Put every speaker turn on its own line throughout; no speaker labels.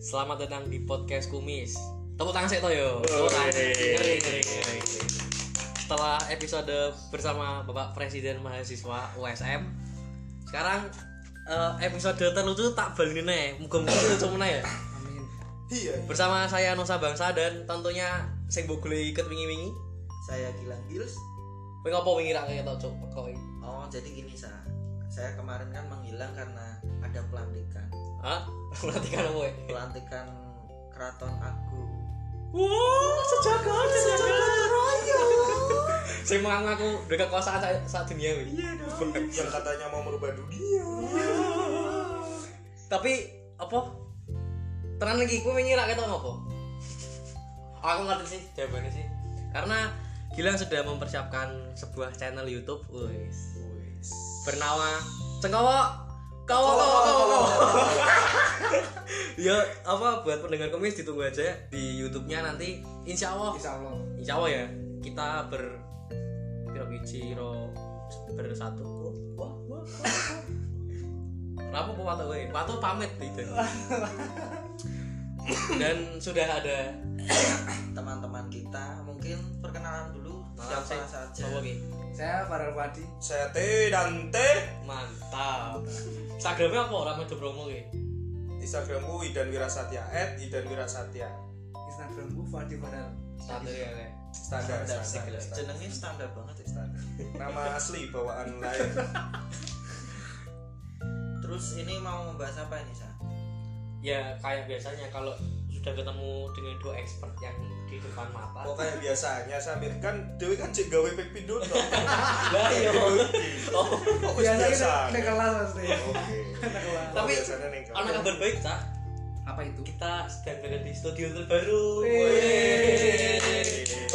Selamat datang di podcast Kumis. Tepuk tangan sik to yo.
Woi.
Tepuk tangan. Ngeri, ngeri, ngeri, ngeri. Setelah episode bersama Bapak Presiden Mahasiswa USM, sekarang eh, episode terlucu tak baleni neh. Muga-muga lucu meneh ya.
Amin.
Iya.
Bersama saya Nusa Bangsa dan tentunya sing mbok goleki ket wingi-wingi.
Saya Gilang Gils.
Wingi apa wingi ra ketok cuk kok. iki?
Oh, jadi gini sa. Saya kemarin kan menghilang karena ada pelantikan.
Hah? Berarti kan kowe.
Pelantikan Keraton Agung.
Wow, sejagat, sejagat raya. Saya mengaku udah kekuasaan saat, saat dunia ini.
yang katanya mau merubah dunia
Tapi apa? Tenang lagi, gue mengira kita apa? Aku ngerti sih jawabannya sih. Karena Gilang sudah mempersiapkan sebuah channel YouTube, wis. Bernama Cengkowo Kowo Kowo Kowo. Kowo. ya apa buat pendengar komis ditunggu aja di YouTube-nya nanti insya Allah
Insya Allah.
insya Allah ya kita ber kira biji ro bersatu wah wah kenapa kok watuk gue watuk pamit gitu dan sudah ada
Teman-teman kita mungkin perkenalan dulu
Malam, Sik.
siapa saja.
cowok nih
Saya Farel Fadi.
saya T dan T
mantap instagramnya apa orang maju promo nih
Instagramku Idan Wirasatya at Idan Wirasatya
Instagramku Fadi Farel.
satu ya Le.
standar
Standar, sih.
standar, standar.
Jenengnya standar banget ya.
Standar. nama asli bawaan lain
Terus ini mau membahas apa ini sa?
ya kayak biasanya kalau sudah ketemu dengan dua expert yang di depan mata
kok kayak biasanya Samir kan Dewi kan cek gawe pek pindut dong.
lah iya
gitu.
oh.
kok wis
Biasanya
biasa
kita- kita iya, kelas pasti.
oke
Kita kelas.
Tapi,
Kok Oh, biasanya neng kelas?
anak kabar baik cak
Apa itu?
kita sedang berada di studio terbaru.
Wih.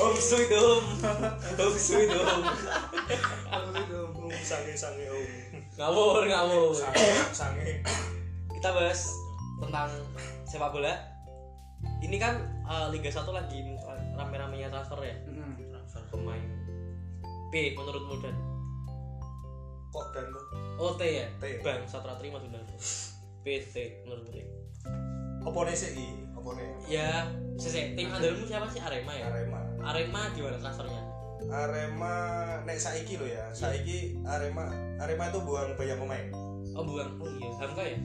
Om sweet om, om sweet om.
Um, sange sange um
Ngawur ngawur.
sange sange
Kita bahas tentang sepak bola. Ini kan eh, Liga 1 lagi rame-ramenya transfer ya
Mm-mm.
Transfer.
pemain. P menurutmu dan
kok dan tuh
OT ya?
T.
Bang Satra terima sudah. PT menurutmu T.
opo nih sih I? opo nih
Ya, sese tim andalanmu siapa sih Arema ya?
Arema
Arema gimana transfernya?
Arema nek saiki lo ya saiki Arema Arema itu buang banyak pemain
Oh buang, oh iya Hamka ya?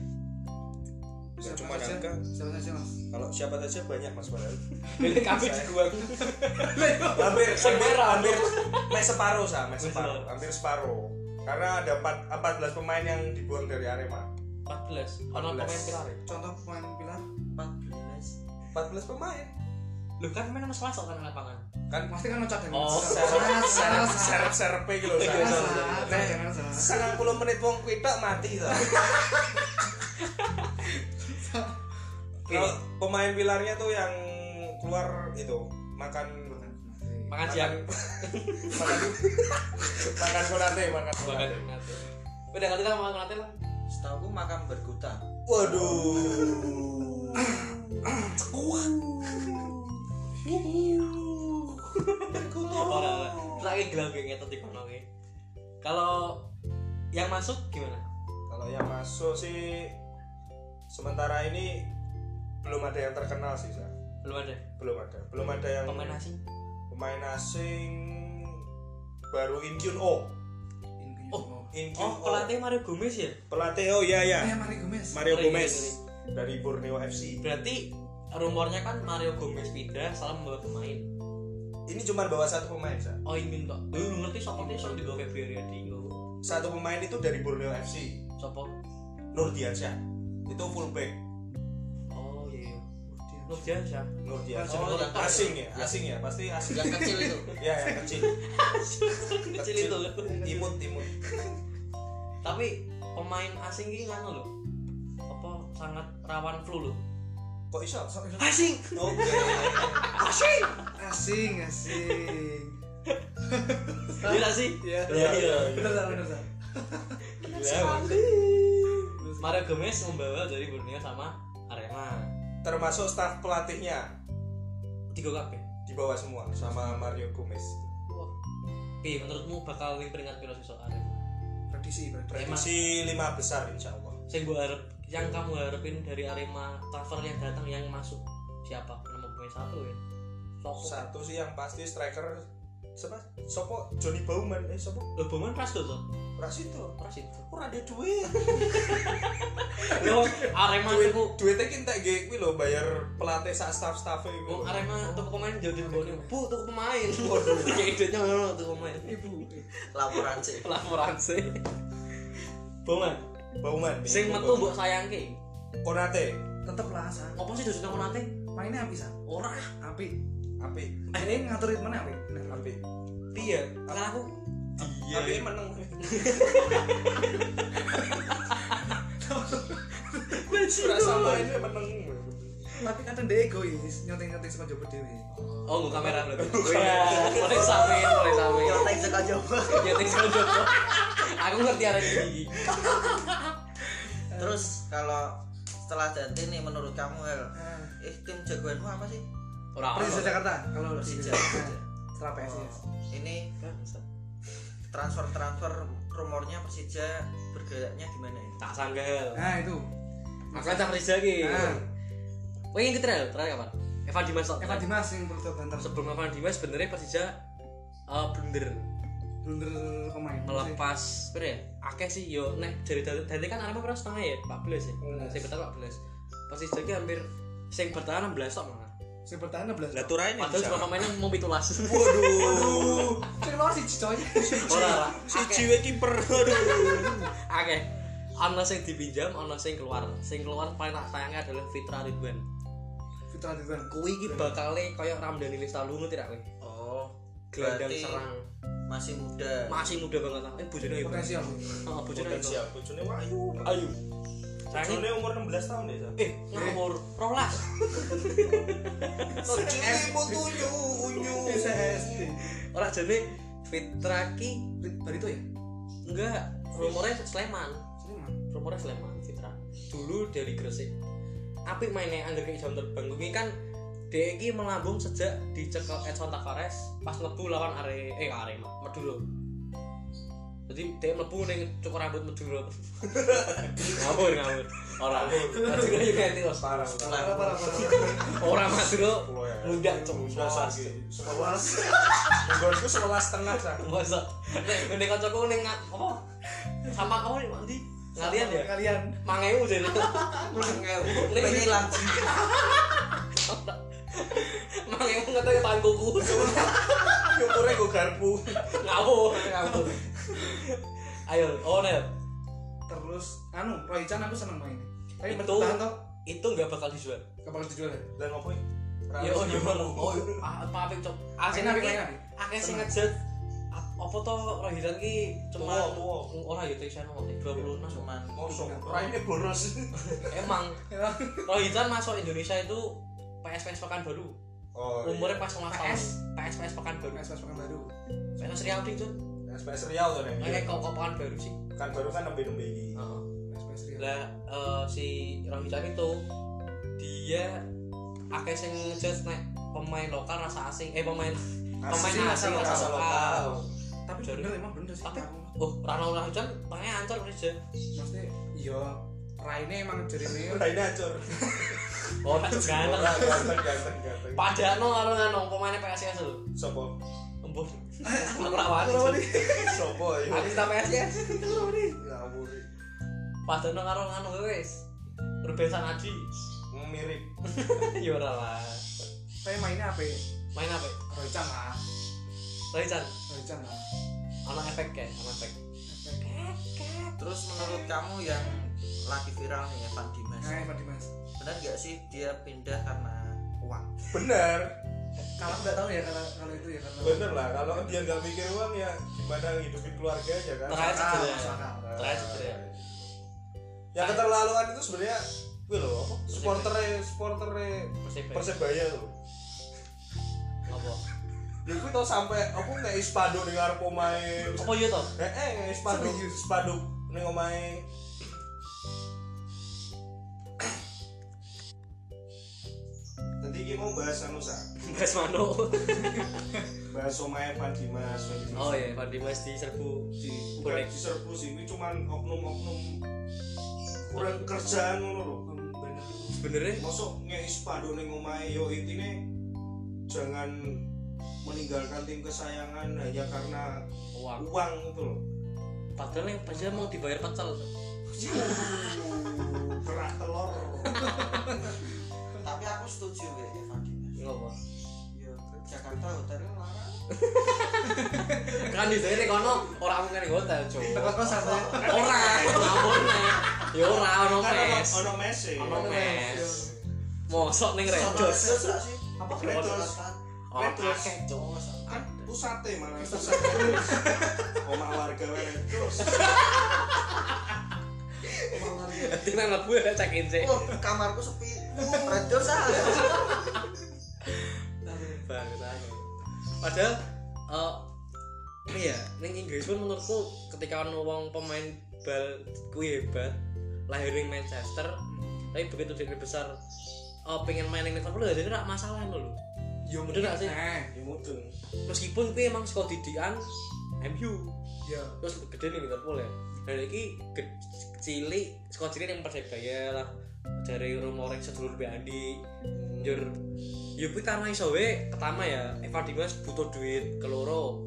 Siapa
cuma
saja?
Hamka.
Siapa saja mas?
kalau siapa saja banyak mas padahal
Ini kami dibuang.
hampir hampir
Segera.
hampir mes separuh sah mes separuh hampir separuh karena ada empat- 14 pemain yang dibuang dari Arema
14. Ono pemain
14.
pira Arema?
Contoh pemain pilar.
14
14 pemain
Lu kan main sama Selasa kan lapangan.
kan
Pasti kan ngocok dengan.
Oh,
serep serep serep gitu loh Nek
Jangan salah.
sangat puluh menit wong kuwi tak mati lah kalau pemain pilarnya tuh yang keluar itu makan
Makan siang
makan makan konate makan
bagan
konate
nanti. Udah kali lah makan nanti lah.
Setahu makam berguta.
waduh
Ora ora. Lagi gelangge ngetot di kono iki. Kalau yang masuk gimana?
kalau yang masuk sih sementara ini belum ada yang terkenal sih Sa.
Belum ada.
belum ada belum ada yang
Pemain asing.
pemain asing baru Inkyun Oh
Oh.
Inkyun
Oh, pelatih Oh, iya, Mario Gomez ya?
pelatih oh ya ya
Eh, Mari Gomez.
Mario
Sorry,
Gomez dari Borneo FC
Berarti rumornya kan Mario Gomez pindah salah membawa pemain.
ini cuma bawa satu pemain Sa.
Oh, ingin kok. Lu ngerti sapa iki sing digawe Februari ya, adi nggo.
satu pemain itu dari Borneo FC
Sapa?
Nurdiansyah itu fullback
Oh, iya. Lu biasa.
Nurdiansyah
Oh, yang tahu.
asing ya asing ya pasti asing
Yang kecil itu.
ya yang kecil
Kecil itu.
imut imut
Tapi pemain asing iki ngono lho. Apa sangat rawan flu lho.
kok iso Oh, iya,
Asing.
oke
Asing, asing.
Iya gak sih?
Iya.
Iya, iya.
Bener tak, bener tak.
Gila. Mario Gomez membawa dari Borneo sama Arema.
termasuk staf pelatihnya
Tiga kabeh.
di bawah semua sama Mario Gomez
Oke, menurutmu bakal ning peringkat piro sesuk Arema?
Prediksi, prediksi.
Arema
prediksi lima besar insya Allah
sing gua harap yang kamu harapin dari Arema transfer yang datang yang masuk siapa nama pemain satu ya Sopo
Satu sih yang pasti striker siapa? Sopo Johnny Bauman eh sopo
eh Bauman Prasto tuh
Rasito.
Prasto
Ora ada duit.
yo Arema
Duit
tuku
duitnya kita gak kuwi lho bayar pelatih sak staff-staffe kuwi.
Wong
lho.
Arema tuku pemain jauh jauh bu tuku pemain waduh kayak idenya ngono tuku pemain
Ibu.
laporan sih
laporan sih Bauman
Bauman.
sing metu mbok sayangke
Konate.
Tetep lah sa.
apa sih dosen aku nanti
Mainnya api sa.
ora ah.
Api.
Apik.
Ini ngatur ritmenya api. Nah,
Apik.
iya karena aku
Iya. Apik meneng. Ora sama ini meneng.
Nah, Tapi kadang dia egois, nyontek-nyontek sama jopo dewe.
oh nggak kamera berarti Iya, mulai sami mulai sami
nyontek suka coba
ya thanks Bang Joko aku ngerti arah ini
terus kalau setelah Dante nih menurut kamu El
Ah,
eh tim jagoanmu apa sih
ora
Persija
apa
Jakarta kalau di-
Persija
Nah, setelah
Oh,
PSIS.
ini transfer transfer rumornya Persija bergeraknya gimana ya
tak sanggel
Nah, itu.
aku tak Riza Oh, ki
Nah,
Wih, ini terakhir, terakhir kapan? Evan Dimas tak?
Evan Dimas yang perlu banter
Sebelum Evan Dimas, sebenarnya Persija eh, blunder
blunder pemain.
melepas berapa ya? Akeh sih, yo nek dari dari kan Arema berapa setengah ya? 14 ya. Saya betul 14. Persija ki hampir sing bertahan 16 tok malah.
Si bertahan 11.
Lah turaine
Padahal
bisa.
semua pemainnya mau pitulas.
Waduh.
Si luar si Cicoy.
Ora ora.
Si jiwe kiper. Aduh.
Akeh. Ana sing dipinjam, ana sing keluar. Sing keluar paling tak sayangnya adalah Fitra Ridwan.
Fitra Ridwan.
Kuwi iki bakale koyo Ramdhani Listalu ngerti ra kowe?
oh
Gelandang
Berarti-
serang.
masih muda
Masih muda banget lah. Eh Oh, bojone hebat.
Potensial.
Heeh, bojone hebat.
Potensial bojone wayu.
Ayu. Sayangnya
Bojone umur 16 tahun ya. Sa?
eh nomor 12.
Bojone mutunyu unyu.
Bisa SD.
Eh. Ora jane Fitra ki
Barito ya?
enggak rumornya Sleman.
Sleman.
rumornya Sleman Fitra dulu dari Gresik apik mainnya anggar ke jam terbang ini kan dia ini melambung sejak dicekel Edson Tavares pas lebu lawan are eh Arema Maduro jadi dia mlebu ning cukur rambut Maduro ngawur ngawur orang Maduro United Os.
Parah.
Parah parah parah.
orang Maduro
Pulau ya.
muda cuma
Sebelas. Sebelas. Menggolku sebelas setengah sa.
masa nek ning kancaku ning ngat- apa sama kamu nih mandi ngalian ya
Kalian.
mangeu jadi mangeu Ning-
pengilang
Mang emang katanya tangan kuku
Syukurnya gue garpu.
Ngawur Ngawur Ayo, oh Nel
Terus anu, Roy Chan aku seneng mainnya. Tapi
Itu-
bertahan toh
Itu nggak bakal dijual
kapal dijual ya?
Dan ngapain?
Ya oh iya Oh ah, apa apik cok Asin
Main apik,
apik
main apik.
Akeh sing ngejat A- Apa toh Rohiran ki cuma
Tua,
Orang ya Trishan apa sih? 26 cuma
cuman
Kosong. Raine boros.
Emang Rohiran masuk Indonesia itu PSPS pekan baru
Oh.
Umurnya pas sama tahun
PS?
PSPS pekan baru
Mas mas pekan baru.
Saya Sri Aldi cok
SPS Riau tuh
Kayak
nih.
kok kok pekan baru sih
Kan baru kan nembe nembe ini.
Iya. Heeh.
Mas mas Rian.
lah eh, si Rohita itu dia akeh sing ngejudge nek pemain lokal rasa asing eh pemain pemain asing
rasa
rasa lokal
Tapi
Jari.
bener emang bener sih.
Tapi-
Aku-
oh Rano Rahujan tangannya ancur kerja
Maksudnya iya Raine emang jerene
Raine acur.
oh tak ganteng
Orang Ganteng ganteng ganteng.
pada no karo ngano pemainnya PSIS lho
Sopo.
embun aku rawani Cuk.
Sopo ya.
aku tak PSIS
Ngawur.
pada no karo anu, ya ngano wes Ruben Sanadi
Mirip.
ya ora lah
Tapi mainnya apa? ya?
main apa
Roy Chan lah.
Rajan
Roy Chan lah.
ana efek ya ana efek
terus menurut kamu yang lagi viral nih Evan Dimas
Nah, Pak Dimas.
benar nggak sih dia pindah karena uang
Bener.
Kalau nggak tahu ya kalau kalau itu ya karena
Bener lah. Kalau dia nggak mikir uang ya gimana hidupin keluarga aja kan.
Terakhir
Ah,
cedera.
masuk akal.
Terakhir cedera.
Yang keterlaluan itu sebenarnya gue loh apa? Supporternya supporternya
Persib
persebaya tuh.
apa
Ya gue tau sampai aku nggak ispado nih ngarep pemain.
apa yo toh
Eh eh nggak ispado
Serius?
ispado nih pemain. Tadi kita mau bahas anu sa,
Mas Mano
bahas Somai Evan Dimas. Evan Dimas.
Oh iya, Pak Dimas di serbu
Di,
Boleh.
bukan diserbu sih, ini cuman oknum-oknum kurang kerjaan ngono lho bener
sebenarnya
mosok ngei spanduk ning omahe yo intine jangan meninggalkan tim kesayangan hanya karena
uang
uang itu loh
padahal yang pasti mau dibayar pecel
kerak telur
Oh,
tapi aku setuju ya Evan Dimas
ngopo
ya Jakarta hotelnya larang
kan di sini kono orang mungkin di hotel
Teko
cowok
kosan ya.
orang ngapun nih ya ora ono
kan ono
mes
ono e. mese
ono mes mosok ning redos
Terus gak sih apa
Terus.
terus
orang
Redos.
akeh cowok
kan pusate malah pusate terus omah warga wae terus
Nanti nang lebu ada check in sih
oh kamarku sepi redor sah
Bangsat. Padahal eh iya, ning Inggris pun menurutku ketika ono wong pemain bal kuwi hebat lahir ning Manchester, tapi begitu dia besar eh pengen main ning Liverpool jadi rak masalah ngono lho.
Yo
Bener nggak sih?
Eh,
ya mudeng
Meskipun kuwi emang saka didikan MU,
ya.
terus gede nih Liverpool ya dan ini ge- cilik sekolah cilik yang persebaya lah dari rumor yang sedulur Andi jur ya kuwi karena iso we pertama ya Eva Dimas butuh duit keloro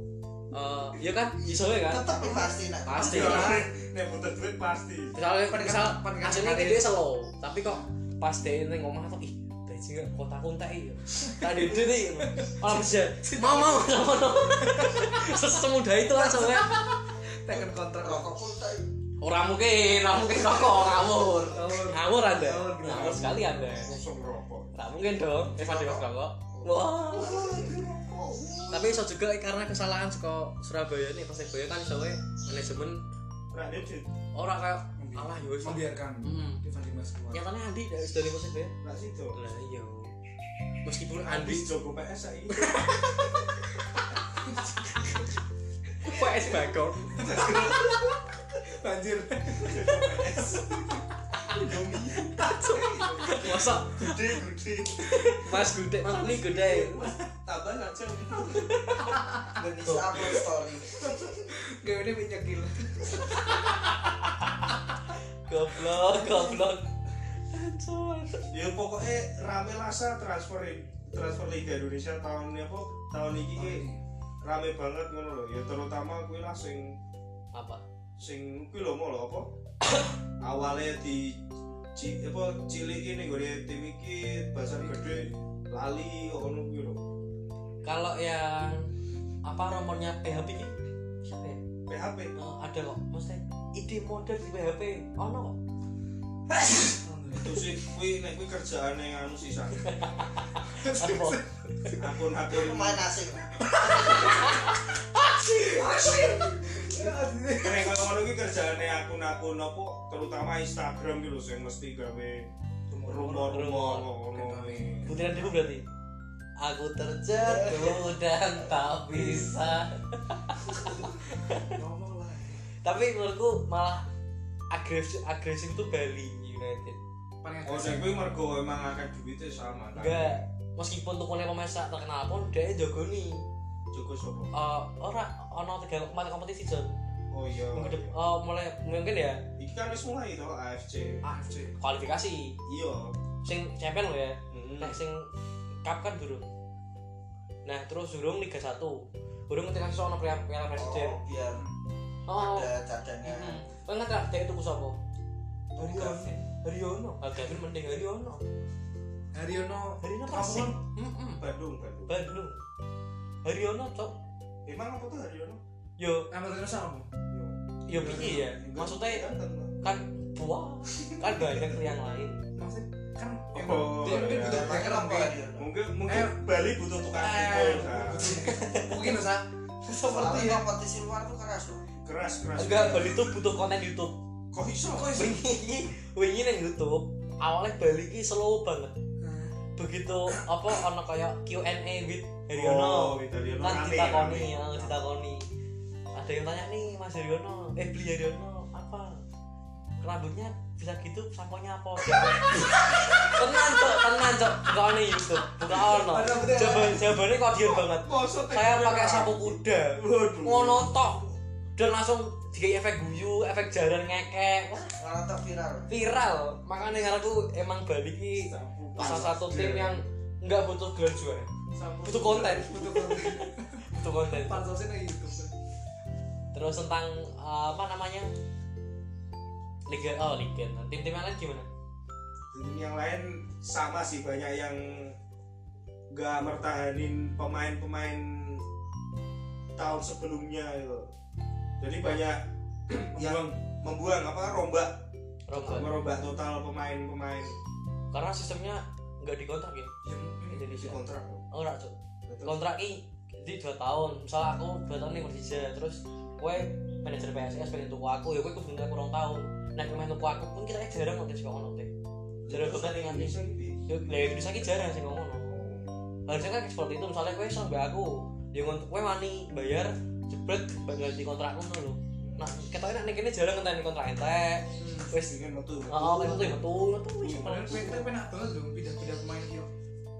Eh, ya kan iso we kan
tetep pasti nak
pasti
Ya,
lah
nek butuh duit pasti
misalnya
Pendekatan-
misal
pendekatan
hasilnya
karir.
gede selo tapi kok pas dia ini ngomong tuh ih Beji nggak kota kunta iya tadi itu nih iya. malah bisa mau mau sama no sesemudah itu lah soalnya
Tekan kontrak
rokok pun tak
Orang mungkin, orang mungkin kok kok ngawur.
Ngawur.
Ngawur Anda.
Ngawur, ngawur.
Ngawur Eh, sekali Anda.
langsung rokok
Tak mungkin dong. Eva Dewas kok. Wah. Tapi iso juga eh, karena kesalahan saka Surabaya nih Persebaya kan soalnya manajemen
nah dia di
ora kayak alah yo wis. Ya.
membiarkan
Heeh.
Ivan Dimas keluar.
Nyatane Andi dari dari Persebaya.
nah situ
Lah iya. Meskipun
Andi
Andi
Joko PS saiki
PS Bagong.
Banjir.
Masa
gede gede
Mas Gude, Mas Andi Gude.
tambah aja
Indonesia upload story
Gak ini minyak gila.
Goblok, goblok. Ancur.
ya pokoknya rame lasa transfer transfer Liga Indonesia tahun ini apa tahun ini ki rame banget ngono lho ya terutama kuwi lah sing
Apa?
sing kuwi lho mau lho apa awalnya di ci, apa cilik ini gue tim iki pasar gede lali ngono kuwi lho
Kalau yang apa nomornya PHP ini? Siapa ya?
PHP
Eh, ada kok maksudnya ide model di PHP ono kok
itu sih kuwi nek kuwi kerjaane anu sisan akun-akun
pemain asing
Nek kalau ngono iki kerjane akun-akun apa terutama Instagram gitu sing mesti gawe rumor-rumor ngono iki.
butiran debu berarti aku terjatuh dan tak bisa
Ngomong lah.
tapi menurutku malah agresif agresif tuh Bali United
Paling
Oh, sing kuwi mergo emang akeh duwite sama. kan?
enggak meskipun tukunya pemain sak terkenal pun dia jago nih
Joko sapa?
Eh, ora ono tiga kemarin kompetisi Jon
Oh iya.
minggu depan eh, mulai mungkin ya
Iki kan wis mulai to AFC.
AFC.
kualifikasi
Iya.
sing champion lo ya
Hmm.
Nek sing cup kan durung. Nah, terus durung Liga 1. Durung ketika sesuk ono Piala Piala Presiden.
oh biar
Oh.
ada cadangan
Heeh. Kok nggak tak dek tuku sapa?
Haryono.
Haryono. Ah, Gavin mending Haryono.
Haryono.
Haryono
Kamu
Persib. Heeh.
Bandung, Bandung.
Bandung. Haryono cok.
Emang apa tuh Haryono?
Yo,
Nama terus apa?
Iya.
yo piye ya? Maksudnya
Ganteng, Pak.
kan buah kan banyak yang lain.
Maksudnya kan
Oh,
dia mungkin
iya.
butuh
Pakai
backer
apa
mungkin.
Haryono?
Mungkin mungkin
Eh.
Bali butuh tukang
Eh,
pukul. Kak.
Mungkin Nusa. Seperti
Soalnya
ya.
kompetisi luar tuh kan keras loh
Keras, keras.
Enggak, Bali tuh butuh konten YouTube.
Kok iso? Kok iso?
Wingi wingi nang YouTube awalnya Bali ki slow banget. Begitu apa ono kayak Q&A with Haryono.
Oh, Haryono
kan
rame,
ditakoni
rame.
ya ditakoni ada yang tanya nih Mas Haryono eh beli Haryono apa rambutnya bisa gitu samponya apa tenang cok tenang cok buka ono YouTube buka ono
Ada betul.
jawaban jawabannya kok diem banget
Masa
saya
tekniknya
pakai
rame?
sapu kuda
Waduh.
ngono tok dan langsung dikasih efek guyu efek jaran ngekek wah
malah tak viral
viral makanya aku emang Bali ini salah satu tim yang
iya.
nggak butuh gelar juara butuh konten
butuh konten
butuh konten
pansosnya nang YouTube
terus tentang eh, apa namanya liga oh liga tim-tim yang lain gimana
tim Hmm, yang lain sama sih banyak yang nggak mertahanin pemain-pemain tahun sebelumnya gitu. Jadi banyak yang membuang apa rombak
Robert
merombak total pemain-pemain
karena sistemnya nggak dikontrak ya
di
Indonesia
kontrak.
oh enggak Cuk. kontrak ini jadi dua tahun misal aku dua tahun nih Persija terus kue manajer PSS pengen tuku aku ya kue kudu aku kurang tahun nah kemarin tuku aku pun kita jarang ngotot sih ngomong teh jarang pertandingan nih
Indonesia gitu.
ya lah Indonesia ki jarang sih ngomong harusnya kan seperti itu misalnya kue sama mbak aku ya ngont- kue mani bayar jebret mbak ganti kontrakku tuh lho nah kita enak nih kini jarang ngenteni kontrak ente wes
Dengan waktu
oh itu yang betul itu wis
Kemarin gue itu enak banget dong pindah-pindah pemain yo.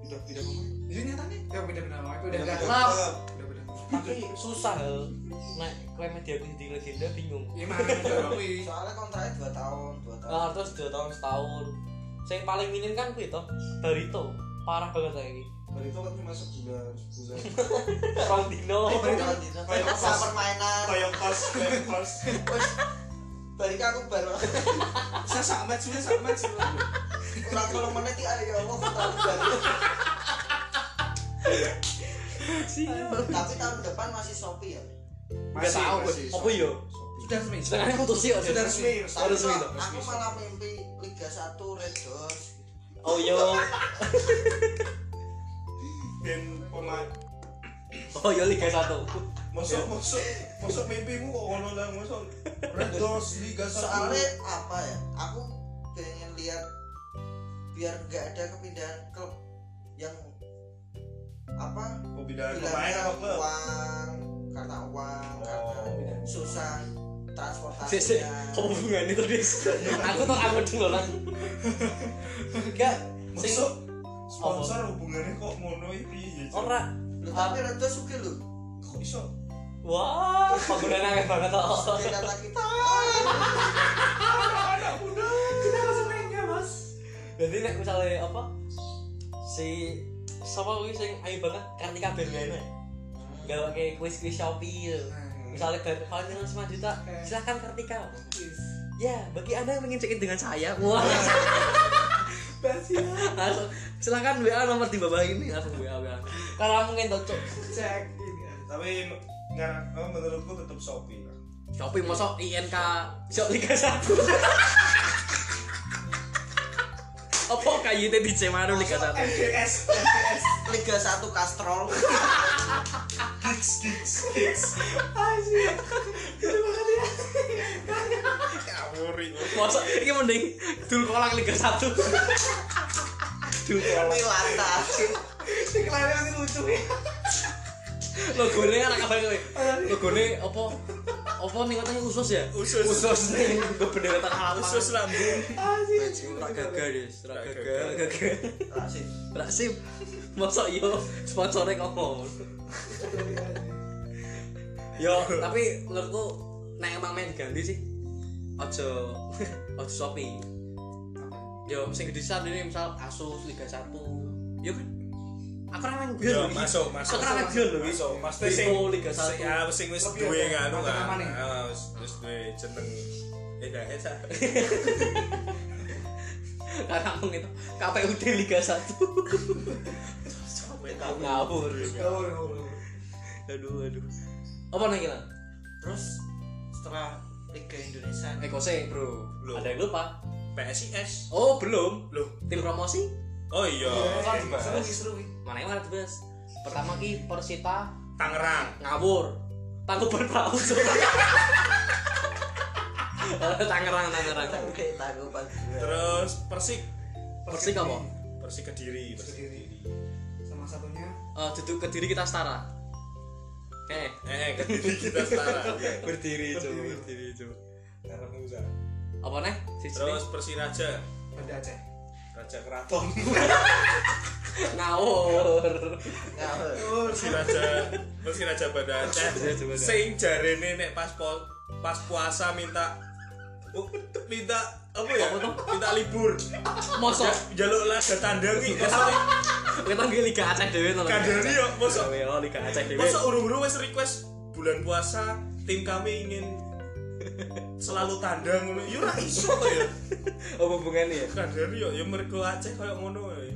tidak tidak pemain.
Jadi nyatanya ya pindah-pindah pemain udah
Pindah-pindah
enggak kelas.
klub.
Udah pindah.
tapi susah hal nah kue media di legenda bingung
Ya mah udah kuwi.
soalnya kontraknya dua tahun dua tahun
Nah, terus dua tahun setahun. Yang paling minim kan kuwi toh, Barito. Parah banget lagi.
Dan itu kan cuma sebulan sebulan.
Rondino.
Padahal di
Kayak
masa
pas-
permainan
Kayak pas kayak pas.
balik aku baru
Saya sama sudah sama
kurang tolong menit ya ya Allah aku tahu baru tapi tahun depan masih Shopee ya
Gak tahu gue. Apa ya? yo?
Sudah resmi.
Setengahnya putus sih aja.
Sudah resmi.
tapi
Harus
kok
gitu.
aku malah mimpi Liga 1 Red Doors
Oh yo.
Dan pemain
Oh yo Liga 1.
Masuk, masuk, masuk mimpimu kok ngono lah, masuk Red Doors Liga 1
soalnya apa ya aku pengen lihat biar nggak ada kepindahan klub yang apa
Pembinaan pemain
bilangnya
apa klub?
uang karena uang karena
Oh.
susah
Sik sik.
transportasinya
Apa hubungannya tuh, Dis? Aku tuh aku dulu lah. Enggak. Sing
Masuk sponsor hubungannya kok ngono iki ya, Cok?
ora.
Loh, tapi Red Doors oke loh
Kok iso?
Wah, penggunaan aneh banget toh.
Dia kata kita
Anak muda
Kita langsung mainnya, Mas.
Jadi nek misalnya apa? Si siapa kuwi sing ayu banget Kartika Berliana. Gak pakai kuis-kuis Shopee gitu. misalnya bayar paling dengan 5 juta
Oke.
silahkan Kartika
Yes.
ya bagi anda yang ingin check in dengan saya wah
Basia.
langsung silahkan WA nomor di bawah ini langsung WA WA karena mungkin cocok
Cek ini.
Tapi nggak- oh, menurutku tetap Shopee lah
Shopee mosok INK Shop Liga 1 apa KYT di Cemanu Liga 1
MGS, MGS
Liga 1 Castrol
Gigs, gigs, gigs
Asyik. Itu banget ya.
Kaburi
mosok ini mending dul kolang Liga 1 dul
Iya,
kolang
Milata
Si Clara masih lucu ya.
logone kan apa kowe logone apa apa nih katanya usus ya
Usus.
usus nih bendera tengah lapang
Usus lambung
Asyik.
Rak gagal Des. rak
Rak
gagal, gagal.
Rasif
Rak sip. Mosok yo sponsore ngomong. Yo, tapi menurutku nek emang main ganti sih. Ojo ojo Shopee. Yo sing gede sak ini misal Asus Liga 1. Yo kan. Aku ra main
Ya,
biyen.
Yo,
lho iki.
masuk, masuk.
Aku ra main biyen lho iki.
Masuk, pasti sing
Vivo Liga
sing-
1.
ya,
ah, sing wis
Lebih
duwe
ada
nganu kan.
teman-teman nih.
Ah, wis wis duwe jeneng
Eh, ya,
edahe sak.
Karena aku itu KPUD Liga 1. Ngawur.
Ngawur, ngawur.
Aduh aduh. Apa nih kita?
terus setelah Liga Indonesia
Eh kose bro
Belum.
Ada yang lupa
PSIS.
Oh belum
Loh.
Tim promosi
Oh iya.
Seru ki, seru ki.
Mana yang mana bes Pertama ki Persita
Tangerang.
Ngawur Tangkuban Perahu Tangerang Tangerang
oke
Iya.
tanggapan gue
Terus Persik.
Persik apa?
Persik Kediri. Persik
Kediri. Sama satunya
Eh, Duduk kediri kita setara Eh
Eh, Kediri kita setara.
Berdiri
Cuk,
Berdiri coba
Karena Iya. Musa.
Apa nih? Si
Terus Persiraja.
Banda Aceh.
Raja Keraton.
ngawur
Ngawur.
Mesti Raja, mesti Raja Banda Aceh. Sing jarene nek pas po- pas puasa minta oh, minta apa ya?
Apa tuh?
Minta libur.
mosok
Jaluk laga tandangi. Maksudnya
kita nggih liga Aceh dhewe to.
Kaderi yo, ya, mosok
Yo liga Aceh dhewe.
Masa urung-urung wis request bulan puasa tim kami ingin selalu tandang ngono. Ya ora iso to ya.
Apa hubungane ya?
Kadang yo ya mergo Aceh koyo ngono ya.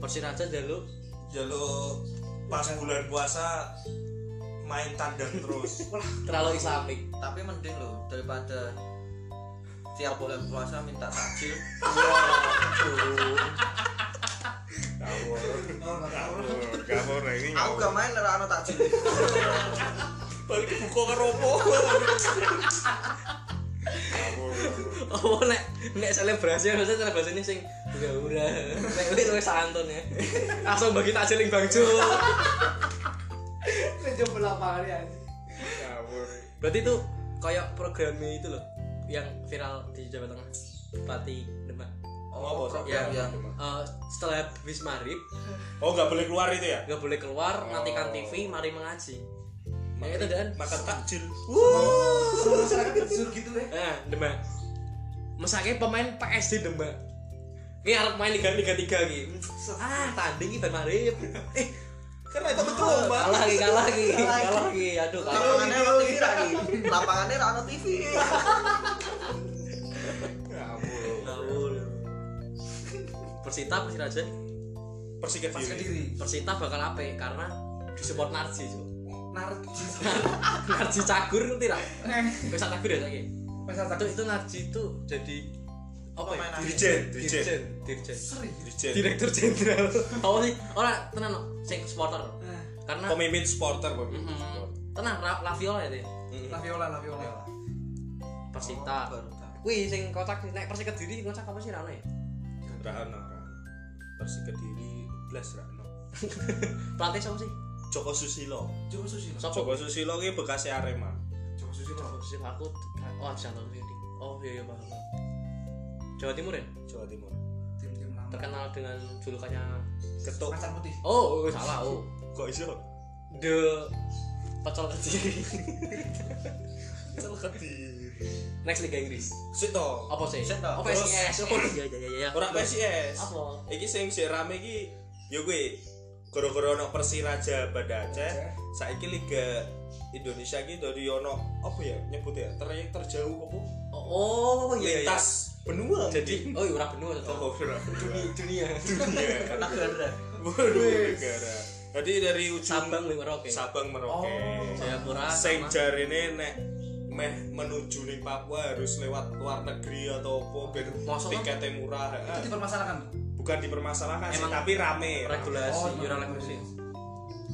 Persin Aceh jaluk
Jalo Ya pas bulan puasa main tandang terus.
terlalu islamik.
tapi mending loh daripada tiap bulan puasa minta takjil
Ngawur. Ngawur. Ngawur ini
aku gak main ora ono takjil
balik buka karo opo. Ngawur.
Apa Oh, nek nek selebrasi harusnya selebrasine sing hura-hura. Nek kuwi luwih santun ya. Langsung bagi takjil ing Bang Jo.
coba lapangan ya
Ngawur.
Berarti itu kayak programnya itu loh yang viral di Jawa Tengah. Bupati Demak.
Oh, bos.
program
Ya.
yang
Eh, setelah habis maghrib
Oh, gak boleh keluar itu ya?
nggak boleh keluar
Oh.
matikan TV mari mengaji ya itu dan
Makan takjil.
seluruh masyarakat disuruh gitu ya
Nah, Demak. Mesake pemain PSG Demak. Ini arep main Liga Liga 3 iki. Ah, tanding iki ben marip. Eh,
Kan itu betul, Mbak.
kalah lagi, kalah lagi.
Kalah lagi.
Kalah lagi. Aduh,
Oh,
kalah.
lapangannya ono TV
iya,
lagi lapangannya ora ono TV
Ngawur. Persita Persiraja
Persik
pas
Kediri.
kediri
Persita bakal ape karena disupport Narji, Cuk.
narjis
iya. Narji Cagur ngerti ra? Wis tak Cagur ya saiki.
masa
Itu
satu
itu Narji itu jadi apa ya?
Dirjen, dirjen.
Dirjen, dirjen.
seri
Dirjen.
Direktur Jenderal. Apa sih? Ora tenan no. sing supporter.
Eh.
Karena
pemimpin supporter pemimpin
Mm-mm.
supporter.
Mhm.
Mm-hmm.
tenang La, La Viola itu ya
Mm-mm.
laviola laviola
Persita
baru tahu.
wih sing kocak sih, nek Persi Kediri kocak apa sih Rano ya
Rahana Rahana. Persi Kediri blas Rahana
pelatih siapa sih
Joko Susilo
Joko Susilo
Sopo?
Joko Susilo ini bekasnya Arema
Joko Susilo
Sih, aku oh bisa nonton ini oh iya iya paham Jawa Timur ya
Jawa Timur
tim tim lama
terkenal dengan julukannya
ketuk
macan putih
oh, oh, salah oh
kok iso
the pecel Kediri
Cel Kediri
next Liga Inggris
sik to
apa sih
Set,
oh
toh.
Terus.
PSIS oh iya iya iya iya
ora PSIS
apa
iki sing sik rame iki ya kuwi gara-gara ono Persiraja Banda Aceh saiki Liga Indonesia iki dari ono apa ya nyebut ya trayek terjauh apa
oh, oh iya iya
lintas benua
jadi oh iya ora benua
oh ora
dunia dunia
dunia
negara
Waduh, negara. Jadi dari ujung
Sabang lewat Merauke
Sabang Merauke.
Jayapura sama-
Sing jarine nek meh menuju ning Papua harus lewat luar negeri atau apa ben
Masa kan?
tiketnya murah.
itu
Eh,
dipermasalahkan
Bukan dipermasalahkan sih,
Emang
tapi rame.
regulasi
Oh,
yo ora
regulasi.
regulasi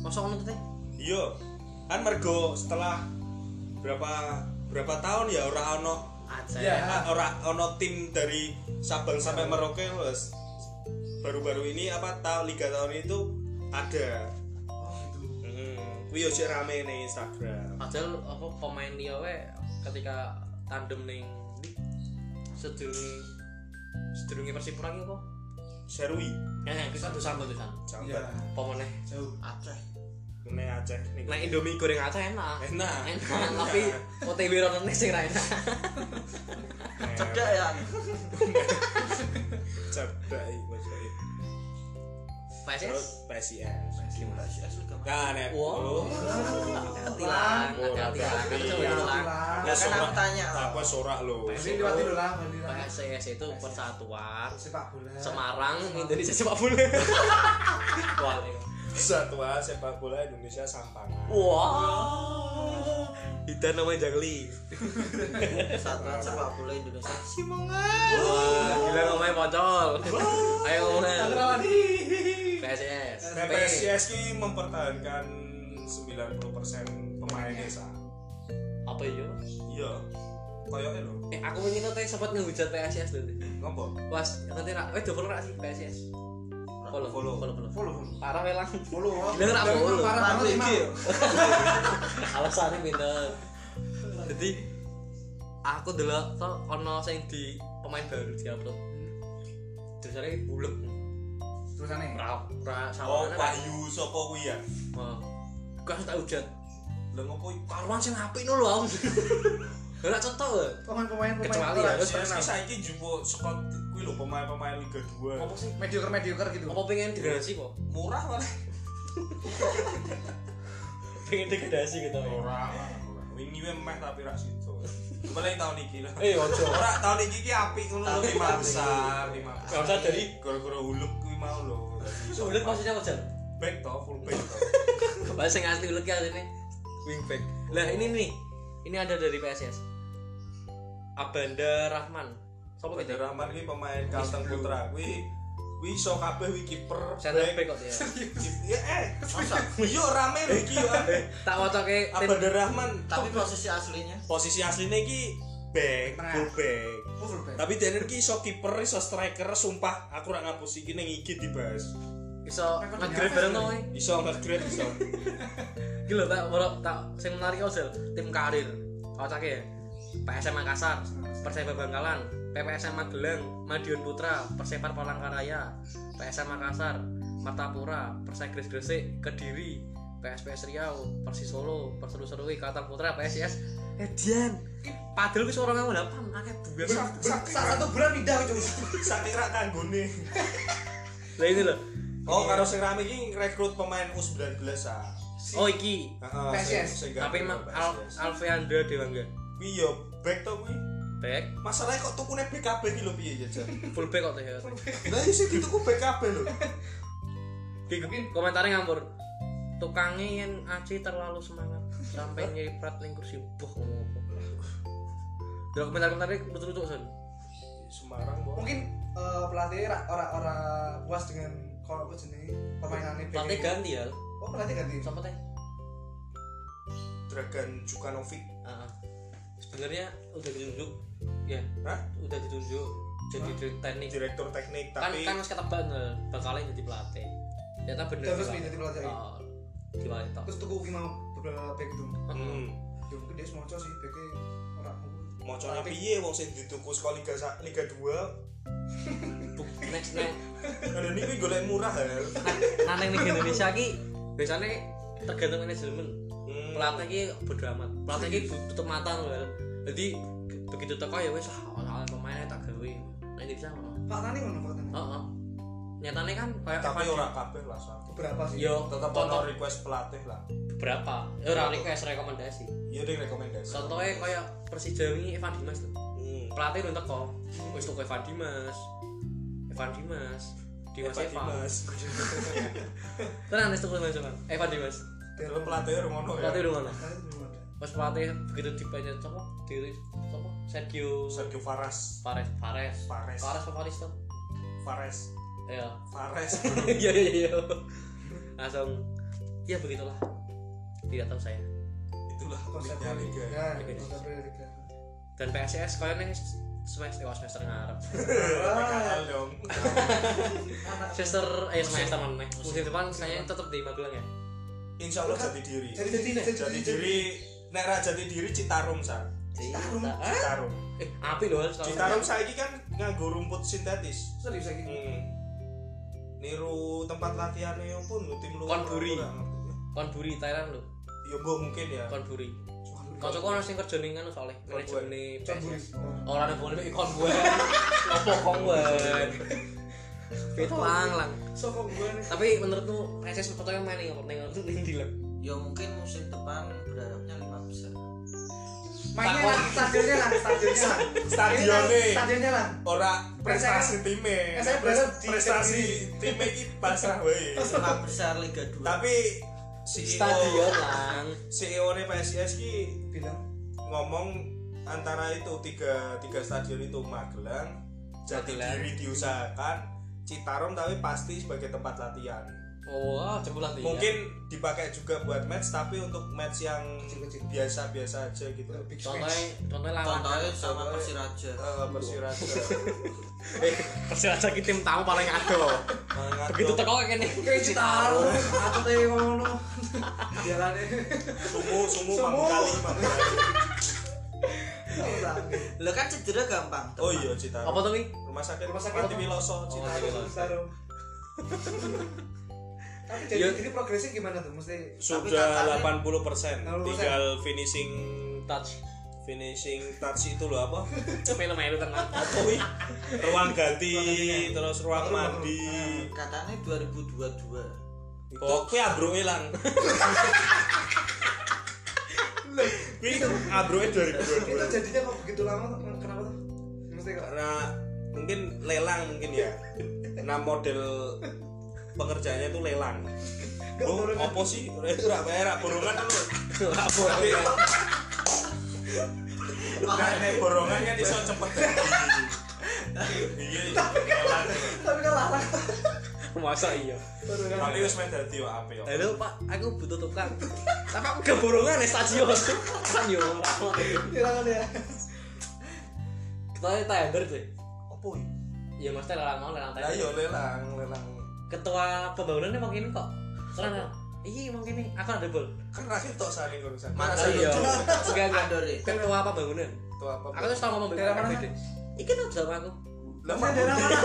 masa ngono tuh Teh?
Iya. Kan mergo setelah berapa berapa tahun ya ora ono
Aceh
Ya.
ah, ora ono tim dari Sabang sampai Merauke wes baru-baru ini apa tahun liga tahun itu ada.
oh gitu
Hmm, kuwi yo sik rame ning Instagram.
padahal apa pemain liya we ketika tandem ning ndi? sedurunge sedurunge Persipura ki apa
Serwi
eh bisa dosan kok dosan
iya
Jambat
apa meneh
jauh
Aceh
Kene Aceh niku.
nek Indomie goreng Aceh enak
Enak
enak tapi OTW rono sing ra enak
cedak ya
Cedak iki Mas Bayu. Terus
PSS
PSIS
Aceh juga mah.
Nah nek
wow
oh,
hati-hati lah
Oh,
hati-hati lah
hati-hati.
Coba dulu lah.
Hilang.
Ya,
kan
sorak.
aku tanya
tak wis ora lho
Ini lewati dulu lah, Bali lah.
Iya. PSS itu persatuan
Sepak bola.
Semarang Indonesia sepak bola wah ini.
Satwa sepak bola Indonesia Sampangan
Wah. Itu namanya jagli.
satuan sepak bola Indonesia
Wah, gila namanya pocol. Ayo ngomongnya.
Tangerang nih.
Iya. PSS.
PSIS ki mempertahankan 90% pemain desa
Apa yo?
Iya Koyoke lho
Eh, aku ingin tadi sempat ngehujat PSS dulu.
Ngopo?
Was, nanti rak, eh double rak sih PSS. Follow,
Follow.
follow, follow.
Follow.
Parah welang.
Follow.
Gila, nggak
Jangan
follow.
parah banget,
Parah,
Imam.
Alasannya pinter. Jadi aku dulu tuh ono sing di pemain baru diupload terus aja bulat
Terusannya.
ra ra
Oh,
sawanan kan.
Wahyu sapa kuwi ya?
Wah. Gak tak hujat
Lah ngopo iki?
karuan sing apik no lho om Lah contoh lho.
Pemain-pemain pemain
Kecuali ya,
Terus
terus terkenal.
saiki jupuk saka kuwi lho pemain-pemain Liga 2.
Apa sih mediocre mediocre gitu.
Apa pengen degradasi po?
Murah malah.
Pengen degradasi gitu. ya.
Ora. Wingi wae meh tapi ra sido. Mulai tahun iki lho.
Eh ojo.
Ora tahun iki ki apik ngono lho
Tapi
lima
apik.
besar, lima besar.
Gak usah dari
Gara-gara huluk kuwi mau lho.
ulet maksudnya apa Jan?
back to full back to.
Bahasa sing asli ulet kan ini wingback. Lah ini nih. Ini ada dari PSS. Abanda Rahman. Sopo
Bandar
gitu?
Rahman kuwi pemain Kalteng Putra kuwi kuwi iso kabeh kuwi kiper.
Center
back.
back kok dia.
Ya eh, masa yo rame lho iki
Eh,
yo.
Tak wocoke tim
Abdul Rahman
tapi posisi aslinya
posisi aslinya ki back,
Tengah.
full back.
Fullback.
Tapi dene ki iso kiper, iso striker, sumpah aku ra ngapus iki ning iki dibahas.
iso
Rekor
ngegrip
dunia.
bareng to. woy.
Iso nge-grade iso.
Gila tak ora tak sing menarik kok Zel, tim karir. Kocake ya. PSM Makassar, Persema Bangkalan, PPSM Magelang, Madiun Putra, Persepar Palangkaraya, PSM Makassar, Martapura, Persegres Gresik, Kediri, PSPS Riau, Persis Solo, Perseru Serui, Kalteng Putra, PSIS, Edian. Eh, Padahal wis ora ngomong lapan, akeh biasa.
Sa- sa- sa- satu bulan pindah cuy.
Saking ra kanggone.
Lah ini lho.
Oh,
Iya.
karo sing rame iki rekrut pemain U19 ah.
Oh iki.
Heeh.
PSIS.
Tapi emang Al Alfeandra Dewangga.
kuwi yo back to kuwi.
Back,
Masalahnya kok tukune BKB iki lho piye ya, Jan?
full back kok ya.
Lah isi dituku BKB lho.
Di komentarnya ngambur. Tukangnya yang aci terlalu semangat sampai nyiprat ning kursi boh ngomong apa. Dari komentar-komentarnya lucu-lucu son.
Semarang kok.
Mungkin eh, pelatih ra- ora ora puas dengan kalau apa jenis permainannya.
Pelatih
pengen-
ganti ya.
Oh pelatih ganti.
Siapa teh?
Dragan Jukanovic.
Ah, Sebenarnya udah ditunjuk. Ya,
Hah?
udah ditunjuk jadi direktur teknik.
Direktur teknik
Kan
tapi
kan harus ketebak nih bakalnya jadi pelatih. Ternyata bener.
Terus
sih,
pindah
Pak.
jadi pelatih.
Oh, Gimana itu?
Terus tuku Uki mau beberapa back itu.
Hmm.
Ya mungkin dia semoco sih backnya ora
Mocone
Tapi-
piye wong sing dituku saka Liga Sa- Liga 2.
Next next
Kalau ini kuwi golek murah ya.
nah neng di Indonesia ki biasanya tergantung manajemen
Hmm.
pelatih ki bodo amat pelatih ki bu- tutup mata loh Hel. jadi ke- begitu teko ya wes ah soalnya pemainnya tak gawe nah ini bisa oh
Faktanya ngono faktanya.
oh nyatanya kan kayak
Tapi
Evan-
ora kabeh lah soalnya.
Beberapa sih.
yo
Tetep ono
contoh
request pelatih lah.
beberapa ya ora request rekomendasi
Iya ding rekomendasi.
contohnya kayak Persija ini Evan Dimas tuh
Hmm.
pelatih udah teko wes tuh Evan Dimas Evan Dimas Dimas
Hebat,
Evan
Dimas.
tenang wes tuh Evan Dimas Evan Dimas
Dalam pelatih ngono ya.
pelatih udah mana
Pelatih belum ada.
pas pelatih begitu dipanjat siapa diri siapa Sergio
Sergio Faras.
Pares Pares
Fares.
Pares apa Pares tuh
Fares.
ya
Fares.
iya iya iya langsung ya begitulah tidak tahu saya
Itulah
Konsepnya
konsepnya Liga.
Ya,
Liga.
konsepnya Liga.
dan PSS kalian yang semester eh, semester ngarep
PKL dong.
Anak
semester eh semester mana nih musim depan kayaknya tetap di Magelang ya
Insya Allah jati diri.
jadi jadi jadi
Jati diri. Nek ra jati diri Citarum sa.
Citarum.
Hah?
Citarum.
eh api loh kalau-
Citarum saiki kan nganggo rumput sintetis.
serius lagi
Hmm. Niru tempat latihannya pun lu tim lu.
Konburi. Konburi Thailand loh
Ya boh mungkin ya.
Konburi kau coba orang sing kerja nih kan soalnya manajemen nih
Caburi.
PSS orang yang boleh ikon gue apa kong gue itu lang lang
so kok gue nih
tapi menurutmu PSS fotonya main nih nih nih di lab
ya mungkin musim depan berharapnya lima besar
mainnya lah stadionnya lah stadionnya lah
Stadionnya.
stadionnya lah
Ora prestasi
Eh,
timnya.
saya berharap di-
prestasi timnya iki pasrah wae.
lima besar Liga 2
Tapi E CEO
stadion lang
CEO -nya PSIS ki
bilang
ngomong antara itu tiga tiga stadion itu Magelang, Jatidiri diusahakan, Citarum tapi pasti sebagai tempat latihan.
oh wah, cepu
Iya.
latihan
Mungkin dipakai juga buat match tapi untuk match yang
Kecil-kecil.
biasa-biasa aja gitu.
eh, big
contohnya
match
contohnya lawan
contohnya sama Persiraja
Eh,
Iya.
Persiraja.
eh persiraja ki tim tamu paling gitu. ado
Mangat
begitu
dong.
teko kene
kayak citarum aku teh ngono jalannya
sumu sumu
Sumu.
mangkali mangkali.
lo kan cedera gampang
Oh iya cita.
Apa tuh, Wi?
Rumah sakit
Rumah
rumah
sakit
sakit
apa?
Wiloso
Oh,
cita.
aku
Wiloso.
Bintaro. Tapi
Ya.
jadi jadi progresnya gimana tuh? Mesti
Sudah
Tapi
80%,
80%.
tinggal finishing
Touch.
finishing touch itu loh apa?
Film aja lu tenang.
Apa Wi? Ruang ganti, terus ruang
Ruang-
mandi.
katanya 2022
Kok kuwi abroke lang. Kuwi abroke
itu
2022.
jadinya kok begitu lama tuh? Kenapa tuh? Mesti kok
Karena mungkin lelang mungkin ya. Nah model pengerjaannya itu lelang. Oh,
borongan.
apa sih? Ora wae ra borongan lho.
Apa?
Tapi ya. Nek borongan kan iso cepet. Iya. lelang.
tapi kan lalang.
Masa iya.
kan?
Tapi wis main dadi yo apik. yo.
Halo, Pak, aku butuh tukang. Tapi aku keborongan ya stadion. Kan yo ora.
Hilangan ya.
Ketua tender sih.
Apa iki?
Ya mesti lelang mau lelang
Lah
tender.
yo lelang, lelang.
Ketua pembangunannya mau kene kok. Ora ora. Iya mau kene. Aku ada bol.
Kan ra ketok sane kok.
Masa
Masa
iya. Enggak enggak.
Andor ya
Ketua pembangunan.
Tuh apa?
Aku tuh tahu ngomong
Daerah mana?
BPD. Iki tuh jawab aku.
Lah
Mesti daerah mana?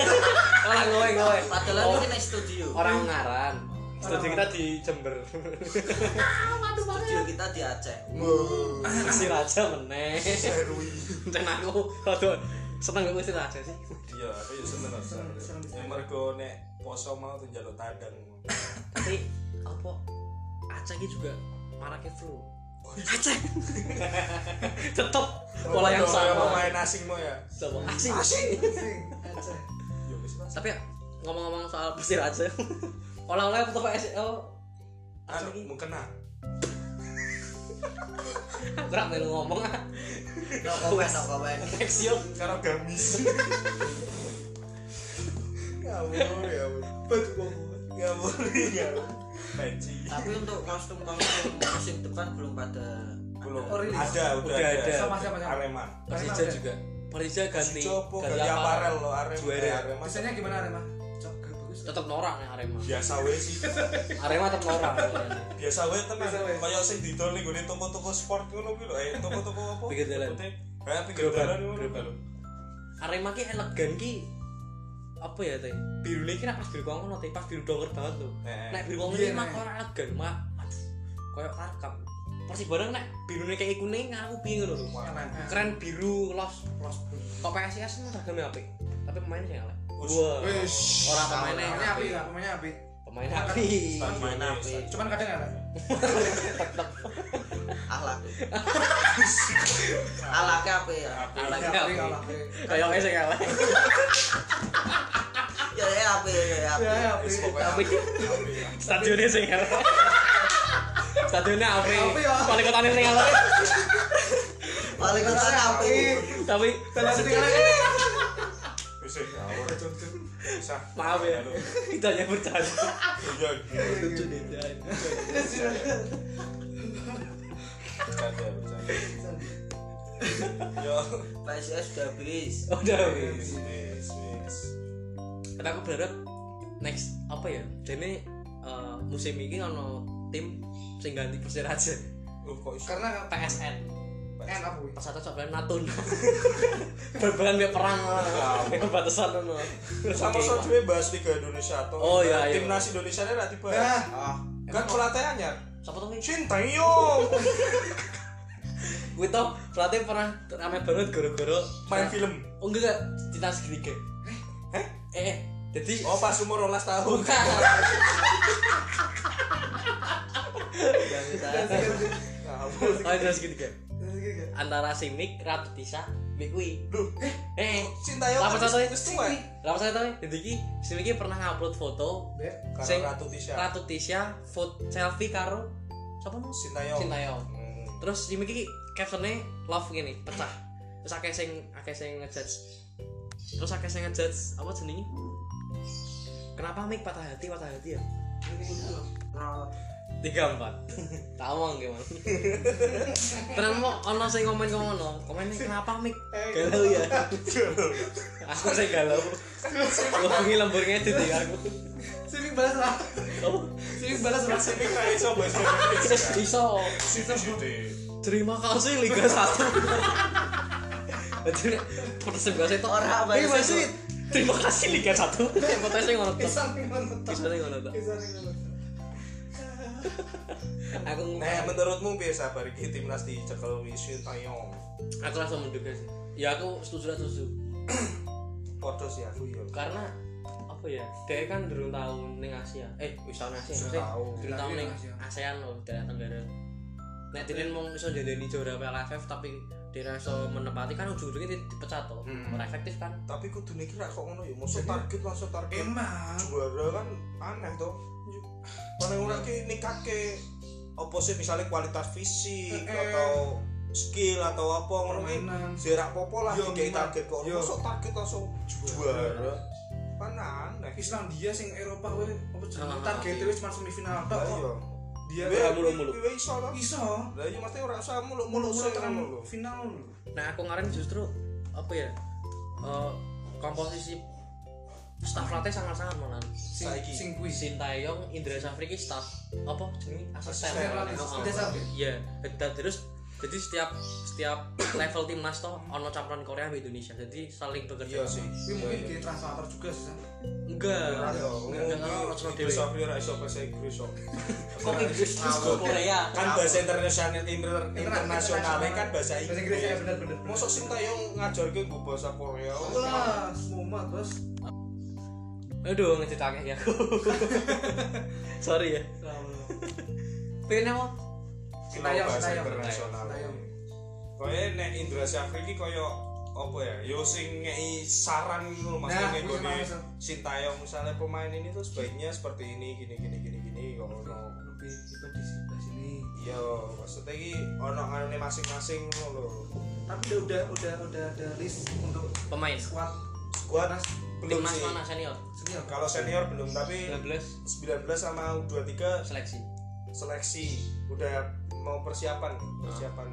Orang ngowe ngowe.
padahal
Oh,
ini naik studio
Orang ngaran. Studi
Orang-
kita di Jember.
studio kita di Aceh
Sir aja meneh.
Serui.
Cen aku rada seneng aku sir aja sih.
Iya, aku yo seneng aku
Seneng,
seneng.
seneng.
Ya mergo nek poso mau tuh njaluk tadang.
Tapi apa Aceh iki juga marake flu. Aceh. Tetep pola yang
Podo kaya
sama.
Pemain asing mau ya.
Sama asing.
Sing, Aceh.
Yo Iya, wis Mas.
Tapi ngomong-ngomong soal pesir aja. Oleh-oleh foto PSL. Aceh
Anu
iki
mungkin nah.
kurang melu ngomong ah.
no comment no comment
Next yuk.
Karo gamis. Ngawur ya.
Batu koko.
Ngawur ya. Peci.
tapi untuk kostum kostum musim depan belum pada
Belum.
Oh, rilis?
Ada,
Udah
udah
ada.
ada.
Sama siapa, siapa?
Arema.
Persija juga. Persija ganti
Persija apa? ganti aparel lo Arema.
Juara.
Eh, Arema.
Desainnya gimana Rema? Cok, bagus.
Tetep norak nih Arema.
Biasa wae sih.
Arema tetep norak.
biasa wae tenan
Biasa wae.
kaya sing didol ning gone toko-toko sport ngono kuwi lho eh toko-toko apa
Pinggir dalan.
Putih. eh pinggir
Gerobak,
dalan ngono
gerobak.
lho
Arema ki elegan ki apa ya teh? Biru ki nek pas biru kong ngono teh pas biru donger banget lho.
Heeh.
Nek biru kong
Iya,
iki mak
nek.
ora elegan mak. Koyo kakap. Persib bareng nek birune kayak kuning aku piye ngono lho.
eh.
Keren.
Keren biru los.
Plus.
Kok PSIS ngono regane apik. Tapi pemainnya sing elek.
Us.
Wah.
Wis.
Ora pemainnya
Pemainnya api,
apik.
lah, pemainnya api.
Pemain apik.
Stadion
Main
wis.
apik.
Cuman kadang ada.
ahlak ahlaknya apa ya
Apik.
Alak
Api,
apik.
api.
Kayak wes sing elek.
ya ya apa ya ya apa
Ya, api.
Wis pokoknya
Apik.
apik.
Stadionnya sing elek. Stadionnya apik.
Apik, ya.
Wali kotane sing elek.
paling kata apa
Tapi
Dalam tinggal
Wis eh, ngawur Usah.
Maaf ya.
Halo.
kita hanya bercanda.
Iya.
Lucu deh, Jan.
Bercanda, bercanda. Iya. Yo.
ya. PSIS sudah habis
Udah
Wis,
wis.
wis, wis.
Tapi aku berharap next apa ya? Jadi eh, musim ini ono tim sing ganti Persiraja.
Uh, kok iso?
Karena
PSN.
en apa? wih?
Persatu sampai Natun. Berbalan dia perang. Perbatasan ono.
Sama
Oke.
soal dhewe bahas Liga Indonesia tuh.
Oh, iya, iya.
Timnas Indonesia nya ra tiba.
Nah.
Ah. Kan pelatihnya anyar.
Siapa tuh? Wi?
Sintayong.
Gue tau pelatih pernah rame banget gara-gara
Main film.
Oh enggak enggak, cinta segitiga. Eh, eh, jadi Iya,
Oh pas umur 12 tahun.
bukan.
yang kita
iya, Oh,
Ngawur.
cinta segitiga.
Terus gini, kayak,
Antara Simik, Ratu Tisa, Bikwi.
Duh,
Eh,
Ya, cinta yo.
Apa contohnya?
Wis tua.
Lama saya tahu, jadi ki sini ki pernah ngupload foto
Bek.
Karo
Sing-
Ratu Tisha.
Ratu Tisha foto selfie karo siapa mau
Sintayong.
Sintayong.
Hmm.
Terus sini ki captionnya love gini pecah. Terus akeh sing akeh sing ngejudge. Terus akeh sing ngejudge apa jenenge? Kenapa mik patah hati patah hati ya?
Nah.
Tiga empat. Tawang gimana? Terus mau ono sing komen komen ono komennya kenapa mik? Galau ya. aku sing galau. Wengi lembur ngedit ya aku.
Sini balas lah.
Oh,
Sini balas lah.
Sini kae iso bahasa Inggris.
Terus iso
Sini, sini.
terima kasih Liga 1. Jadi Persib gak setok.
Ora apa
Iya, Wasit. Terima kasih Liga 1. Potensi ngono tok.
Bisa nih menonton.
Kisahnya ngono tok.
Bisa nih menonton.
Aku
Nah, menurutmu biasa sabar iki timnas dicekel Wisin Tayong.
aku langsung menduga sih. Ya aku setuju lah setuju.
Podo sih aku ya. yo.
Karena apa ya? Dia kan durung tahun ning Asia. Eh, wis tahun Asia. maksudnya
Tahu.
Durung tahun ning
Asia.
ASEAN loh, daerah Tenggara. Nek Dinin mau iso jadiani juara PLFF tapi dia iso menempati kan ujung-ujungnya di- dipecat toh.
Hmm.
Ora efektif kan.
Tapi kudu niki ra kok ngono yo. Mosok target langsung target
Emang.
juara kan aneh toh. Mana ora ki nikake apa sih misalnya kualitas fisik
Eh, eh.
atau skill atau apa ngono ki.
Permainan.
Jarak popo lah
Yo,
kayak
Mak.
target kok.
Yo.
Mosok target langsung juara. Kan aneh.
Islandia sing Eropa kowe apa
Nah,
jenenge
Ah,
targete
iya.
wis masuk semifinal tok. kok.
Ayo.
Dia
Iya.
Ora
mulu-mulu.
Iso lah.
iso
Lah iya mesti ora usah mulu-mulu
mulu-mulu
sing
tekan
ngono lho.
final lho.
Nah aku kemarin justru apa ya eh, komposisi staff latih sangat-sangat malah.
Sing
Saiki.
sing kuwi
Shin Taeyong, Indra Safri ki staff apa jenenge asisten.
Asisten latih,
Oh,
Indra Safri.
Iya, dan terus jadi setiap setiap level timnas toh ono campuran Korea sama Indonesia. Jadi saling
Iya
bekerja.
sih.
kuwi mungkin di translator juga sih. San.
Enggak. Enggak ono
Ngomong
dhewe.
Inggris Sofri ora iso bahasa Inggris kok.
Kok Inggris terus
Ngawur.
Korea.
Kan bahasa internasional inter- internasionalnya kan bahasa
Bahasa Inggris ya
Inggris.
bener-bener.
Mosok sing tayong ngajarke nggo bahasa Korea.
Wah, semua bos.
Aduh, ngecitake ya aku. Sorry ya. Pengen apa?
Slow
Sintayong,
bahasa
Sintayong,
internasional.
Sintayong.
Koe nek Indra Syafri iki koyo apa ya? Yo sing ngei saran ngono Mas
Nah,
nek
kuwi
gone
sama, sama.
Sintayong misalnya pemain ini tuh sebaiknya seperti ini gini gini gini gini kok ngono.
Lebih kita di sebelah sini.
Iya, maksudnya iki ono anune masing-masing ngono lho.
Tapi udah udah udah udah ada list untuk
Pemain.
squad ya,
Gua
Nas
belum
Timnas
sih.
mana senior?
senior.
Kalau senior belum, tapi
19
19 sama U23
seleksi.
seleksi udah mau persiapan, persiapan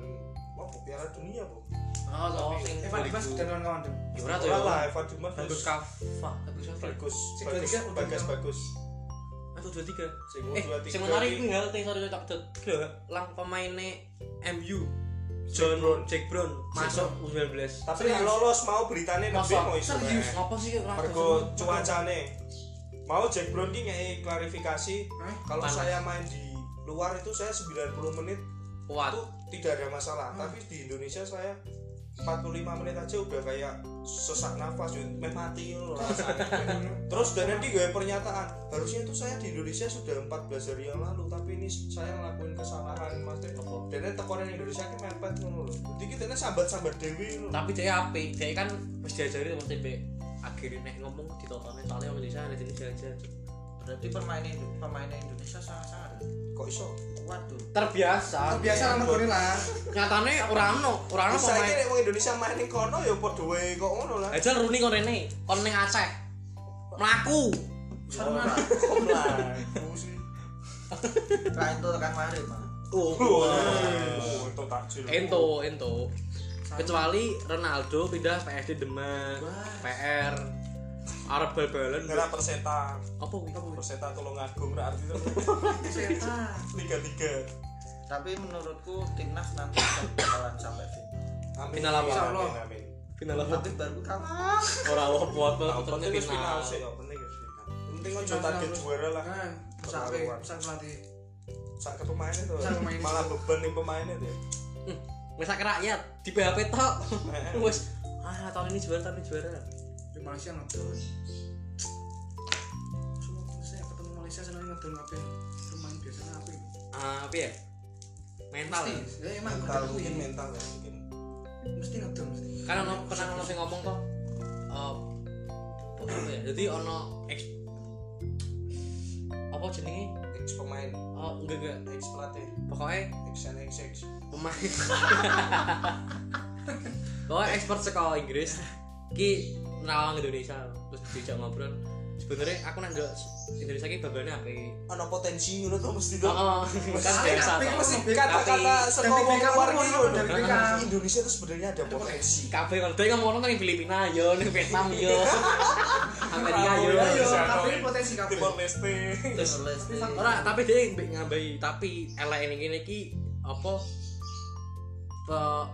mau oh, Piala Dunia, Bu.
Oh, oh
Tapi-
sing
Evan Dimas dan kawan-kawan tuh.
Ya, ora tuh.
Ora lah, Evan Dimas
Bagus
bagus,
Kava, bagus Kava.
bagus,
Si
bagus,
23 udah
bagus,
menang.
bagus.
Atau dua tiga.
Sing
Eh,
U23
sing menarik
iki
tinggal teh sorry tak dot. Lang pemainnya MU
John Brown.
Jack Brown masuk U19.
Tapi yang lolos mau beritane nanti
Masa
mau iso.
serius apa sih kok rada
Mergo
seneng?
cuacane. Mau Jack Brown ki ngei klarifikasi
Hah?
kalau
Panas.
saya main di luar itu saya 90 menit
kuat.
itu tidak ada masalah tapi di Indonesia saya 45 menit aja udah kayak sesak nafas yuk, meh mati yuk, rasanya. terus dan nanti gue pernyataan harusnya itu saya di Indonesia sudah 14 hari yang lalu tapi ini saya ngelakuin kesalahan mas dan nanti tekoran Indonesia ini mepet ngono lho. jadi kita ini sambat-sambat dewi ngono.
Tapi dia apik, dia kan wis diajari sama TB. Akhirnya nek ngomong ditotone soalnya orang Indonesia ada jenis diajar.
berarti pemain Indo- pemain Indonesia sangat-sangat
kok iso
kuat tuh
Terbiasa.
Biasa lah mergone lah.
Nyatane ora ono, ora ono
bisa ini
pemain.
nek wong Indonesia main ning kono ya podo wae kok ngono lah
Ajal Rooney kon rene, kon ning Aceh. Mlaku.
Ya ora, kok lah Aku sih.
Lah itu kan mari mah
Oh.
Wah, itu takjil.
Ento, ento. Kecuali Ronaldo pindah PSD Demak, PR, Arab bal-balan.
Nggak lah, perseta
Apa kuwi?
perseta tolong agung ra arti itu
Seta.
liga tiga
tapi menurutku timnas nanti akan bakalan sampai final
amin
Final apa?
amin,
Insyaallah.
amin
Final apa?
tapi baru kalah
Ora apa-apa,
Nah, penting
penting
wis final
final.
sih kok, penting wis final penting aja
Final,
target
terus.
juara lah
Nah, sampai
Keterlaluan.
sampai pelatih.
sak ke pemainnya tuh
Sak pemainnya.
malah beban nih pemainnya tuh
Wis sak rakyat di BHP tok. Wis ah tahun ini juara tahun ini juara.
Di Malaysia ngedon. Cuma saya ketemu Malaysia seneng ngedon kabeh. Pemain biasa ngapain?
Ah, apa ya? Mental.
Mesti.
ya?
Ya emang
mental
mental
mungkin mental ya mungkin
Mesti ngedon mesti.
Kan ono pernah ono sing ngomong toh. Eh apa ya? Jadi ono ex apa jenenge?
ex pemain
Oh, enggak enggak.
ex pelatih
Pokoknya
ex and ex ex
pemain pokoknya ekspor sekolah Inggris ki nerawang Indonesia terus diajak ngobrol sebenarnya aku nang ndelok Indonesia ki babannya apa
ada potensi ngono tuh mesti tuh
oh, kan
Tapi
biasa
tapi
toh
mesti kata-kata
David
sekolah
Beckham
keluar
pun
gitu
ngono, David Beckham.
Indonesia tuh sebenarnya ada potensi
kabeh kalau dia ngomong nang Filipina yo nang Vietnam yo Amerika yo
Iya,
Ayo,
bisa,
kabeh
kok.
potensi kabeh.
Timor Leste
terus ora tapi dia mbek ngambahi tapi elek ini ki apa pe- eh,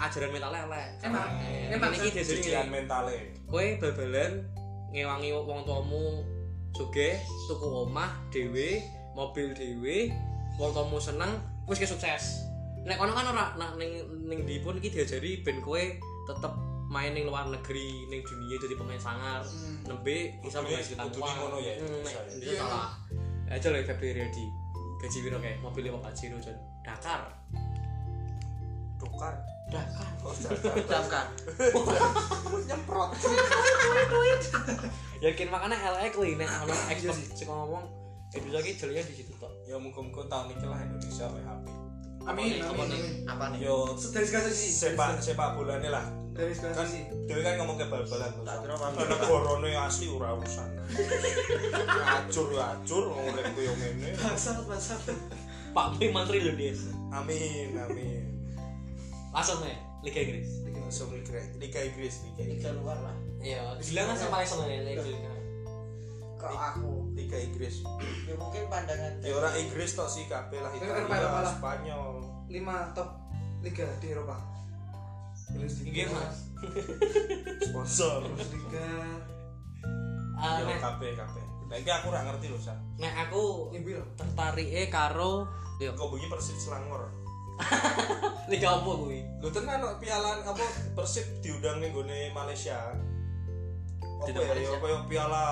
ajaran mental elek.
Emang,
Eh,
emang,
ini
Sat.
dadi
Jijilan mentale.
kowe bal-balan ngewangi wong tuamu sugih, tuku omah dhewe, mobil dhewe, wong tuamu seneng, wis ki sukses. Nek kono kan ora nah, ning ning ndi pun iki diajari ben kowe tetep main ning luar negeri, ning dunia jadi pemain sangar, nembe bisa
Kudune-
menghasilkan
kudune ngono ya,
Hmm, nek
bisa ya.
bisa salah. Aja lho Februari di gaji piro kae? Mobil 4 Jiro Jon. Dakar.
Tukar.
Dakar.
Oh, jajan.
Daftar.
Nyemprot.
Yakin makanya LA kuwi E nek ono expert sing ngomong Indonesia ki jelinya di situ tok.
Ya muga-muga tahun iki lah Indonesia wae apik.
Amin,
Apa
amin,
nih?
amin.
Apa nih?
Yo
Dari segala sisi.
sepak sepak bolane lah.
Dari segala
Kan
sisi.
dhewe kan ngomong ke bal-balan.
Tak kira apa
Karena korone asli ora urusan. Acur acur nguripku yo ngene.
Bangsat, bangsat.
Pak Pi Menteri Indonesia.
Amin amin.
Langsung ya Liga Inggris.
Langsung Liga Liga Inggris Liga Inggris.
Liga luar lah.
Iya, bilang sama paling seneng ya Liga Inggris.
Kalau aku
Liga Inggris.
ya mungkin pandangan
Ya ora Inggris tok sih kabeh lah
Tapi kan Eropa
Italia,
lah.
Spanyol.
Lima top liga di Eropa. Bundesliga,
Inggris Mas.
Sponsor.
Bundesliga.
Ah,
Yo
nek-
kabeh kabeh. Nah iki aku ora ngerti lho, Sa.
Nek aku
Ibu ya.
tertarik karo yo
Kok bengi Persib Selangor.
Liga apa kuwi?
Lho tenan kok pialan apa Persib diundang ning gone Malaysia. Apa
Tidak
ya
Malaysia.
ya apa ya piala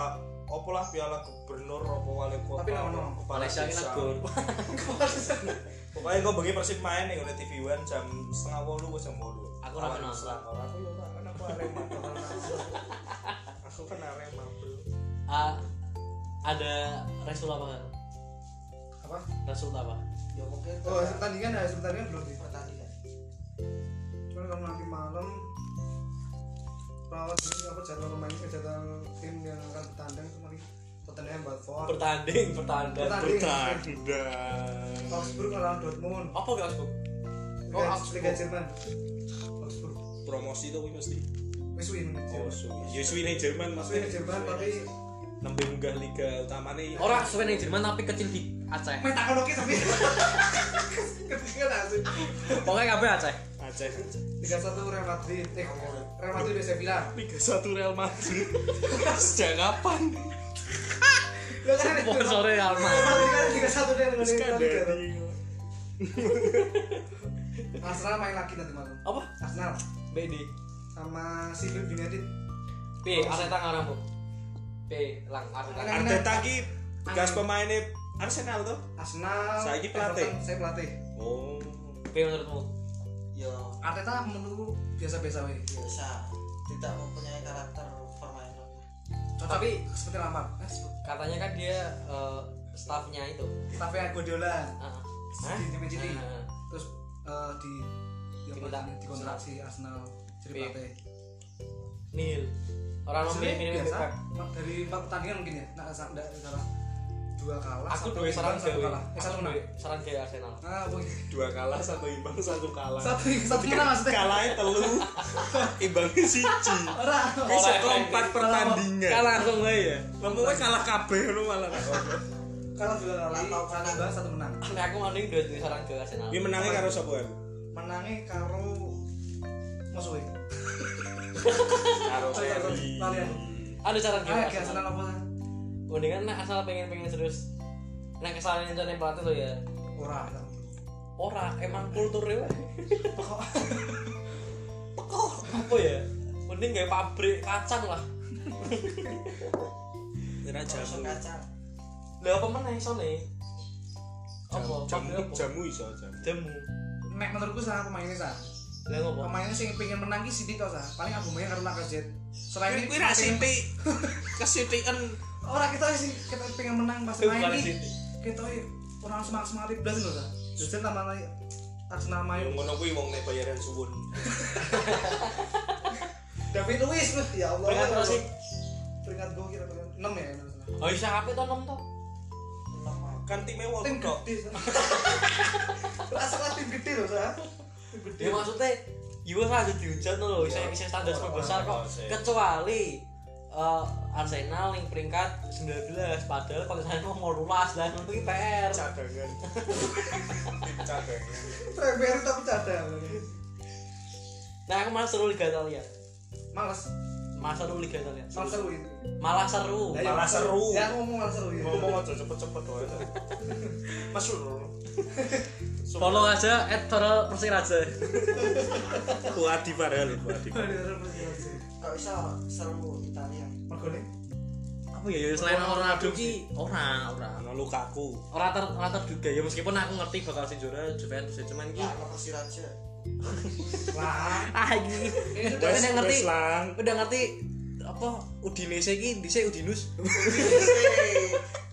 apa lah piala gubernur apa wali kota.
Tapi nggak ono.
kepala
Malaysia ki
desa.
gol.
Pokoknya kok bengi Persib main ning gone TV One jam setengah 8 kok jam 8.
Aku ora
Lawan
kenal.
Selangor. Aku yo ora kenal aku Arema. Aku kan Arema, Bro.
Ah, ada Rasul apa kan?
Apa?
Rasul apa?
ya mungkin
Oh, hasil pertandingan ya, hasil pertandingan belum sih.
pertandingan.
Cuman kalau nanti malam lawan ini apa jadwal mainnya jadwal tim yang akan bertandang kemarin Tottenham Watford.
Bertanding, bertandang,
Bertanding.
Bertandang.
Augsburg ngelawan Dortmund.
Apa gak aku?
Liga,
Oh, Augsburg.
Liga Jerman. Augsburg.
Promosi tuh kuwi mesti.
Wis win.
Oh,
Jerman.
suwi. Ya suwi ning Jerman Mas.
Wis win Jerman tapi
nembe munggah liga utamane.
Orang suwe ning Jerman tapi kecil di Aceh.
main takon oke tapi ketika langsung
Pokoknya kabeh Aceh.
Aceh. Aceh.
Liga 1 Real Madrid. Eh, Real Madrid udah saya bilang.
Liga 1 Real Madrid. Sejak kapan?
Lo kan ada
Pokoknya sore Alma.
Madrid kan Liga 1 dan Real
Terus kan
Madrid. kan?
dari-
Arsenal main lagi nanti malam.
Apa?
Arsenal
BD.
sama Sheffield United.
P, Arteta ngaranmu. P, lang Arteta.
Arteta ki bekas pemainnya Arsenal tuh.
Arsenal.
Saiki pelatih.
Everton, Saya pelatih.
Oh.
P menurutmu?
Ya
Arteta menurutku biasa-biasa wae.
biasa tidak mempunyai karakter permainan.
Cocok
Tapi
seperti Lampard. Eh,
katanya kan dia eh, staffnya itu
Tapi Guardiola
Ah,
di tim City.
ah,
Terus eh, di di apa
Diminta.
namanya, dikontrak si Arsenal jadi
Iya.
pelatih.
nil orang mau
Hasilnya
milih
biasa. Dari empat pertandingan mungkin ya. Nah, sa- ndak salah. Dua kalah.
aku
satu
dua
imbang,
saran
satu
gawe
kalah. Eh, satu
aku
menang.
duwe saran gawe Arsenal
Ah, boy.
Dua kalah, satu imbang, satu kalah.
Satu satu menang maksudnya.
Kalahnya telu, imbangnya siji.
Ora.
Wis setelah empat pertandingan.
kalah langsung wae ya
Lemu kowe kalah kabeh ngono malah.
Kalah dua kali.
Atau
Satu
kalah.
imbang, satu menang.
nek aku mending dua dua saran gawe Arsenal
Iya.
Iki menangnya karo sapa kan?
Menangnya karo musuhe.
Karo
Sorry, sorry,
Seri.
lalian.
ada saran gawe
Ah, gak
Arsenal
senang apa?
mendingan nek asal pengen-pengen serius nek kesalahan yang pelatih tuh ya
Ora.
ora emang kulturnya wae pekoh apa ya mending gawe pabrik kacang lah
Kira jamu.
Masuk kacang.
lha apa meneh isone apa
Jamu-
pabrik
Jamu
apa?
jamu iso jamu.
jamu
Nek menurutku salah pemainnya sah.
lha ngopo
Pemainnya sing pengen menang ki Siti tau sah. Paling albumnya karo Lacazette. Selain
Kuwi ra
pengen-
sipi. Kesitiken
Ora kita sih kita pengen menang pas
Itu bukan
main ki.
City.
Kita orang semangat semangat blas lho sah. Justru tambah lagi Arsenal
Yang
main.
ngono kuwi wong nek bayaran suwun.
David Luiz wah, ya Allah.
Peringkat berapa sih?
Peringkat gue kira peringkat 6 ya. Arsenal.
Oh bisa HP tuh nom tuh.
Lemah.
Kan time wong
Oh, Tim
kok.
gede. Sah. Rasa lah tim gede loh sah. Tim gede.
Ya maksudnya Iwa saja dihujat tuh loh, bisa bisa standar
Oh,
sepak besar kok.
oh, sih.
Kecuali eh, Arsenal yang peringkat 19 padahal kalau saya mau mau lulas dan itu PR.
Cadangan. Tim cadangan.
Treber tapi cadang.
Nah, aku malah seru Liga Italia.
Males,
Malah seru Liga Italia.
males seru itu.
Malah seru.
Ya, ya,
malah seru.
Ya aku ngomong malah seru ya.
ngomong aja cepet-cepet doang masuk loh
Follow aja @toral persiraja.
Kuadi padahal kuadi.
Waduh, seru sih.
Kok bisa seru Italia?
Mergone.
Apa ya ya, selain Ronaldo ki ora ora.
Ono lukaku.
Ora ter ora terduga ya meskipun aku ngerti bakal sing juara Juventus ya, cuman ki
Ya, apa sih Raja?
Lah,
ah iki
ini
udah
sudah
udah ngerti
Wes lang.
udah ngerti apa Udinese ki dhisik Udinus.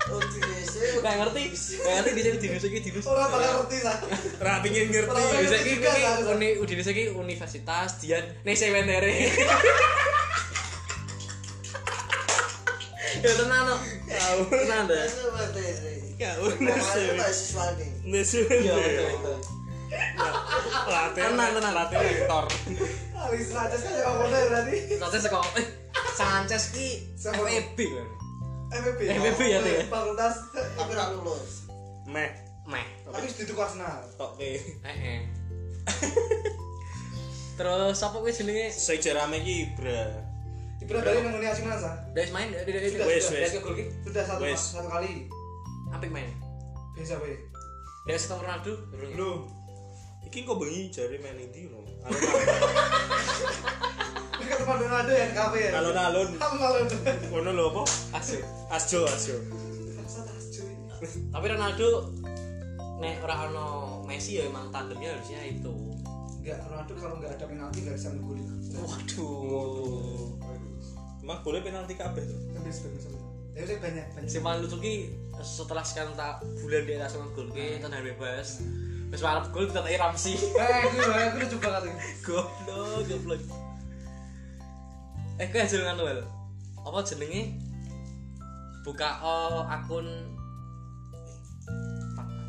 Udinese,
Udah ngerti. Udah ngerti dhisik Udinese ki Udinus.
orang bakal ngerti lah.
Ra pingin ngerti.
Ora
Udinese ki
juga,
kuwi
Sal.
uni Udinese ki universitas Dian Nese Wendere. Ya tenan no. Tenan deh.
Udinese, Udinese.
Ya
Pemain itu
unes.
mahasiswa nih.
Nesu.
Iya betul betul. Ah,
Latih.
Tenang tenang.
Latih rektor.
Alis raja kan yang ngomongnya berarti.
Sanchez saka eh Sanchez ki
Saka-
FEB kan.
FPB.
FPB ya, Teh, ya?
Fakultas.
Tapi nggak lulus.
Meh.
Meh.
Tapi di tuku Arsenal.
Tok ke.
Heeh. eh. Terus apa kuwi jenenge?
Sing jerame iki Ibra.
Ibra dari nemuni Arsenal sa.
Wis main dari dari
Sudah,
Wes
sudah.
wes.
dari ke gol ki
Sudah satu
Wes.
satu kali.
apik main.
Bisa weh.
Dari Cristiano Ronaldo.
Belum.
Iki kok bengi jare main ndi lho.
Ini kan teman Ronaldo ya di kafe ya.
Alon-alon.
Kamu malu.
Ono lho apa?
Asik.
Asjo asjo.
Rasa tas cuy.
Tapi Ronaldo nek ora ono Messi ya emang tandemnya harusnya itu.
Enggak, Ronaldo kalau enggak ada penalti enggak bisa ngegolin.
Waduh.
Emang boleh penalti kabeh tuh.
Habis habis habis. Tapi saya banyak banyak.
Si paling lucu ki setelah sekian tak bulan dia langsung gol
Hmm.
ki tenan bebas. Wis arep gol ditatai Ramsey.
Eh, gue aku lucu banget ini.
goblok goblok eh kau hasil nganu Wel? apa jenenge buka oh, akun Fakta.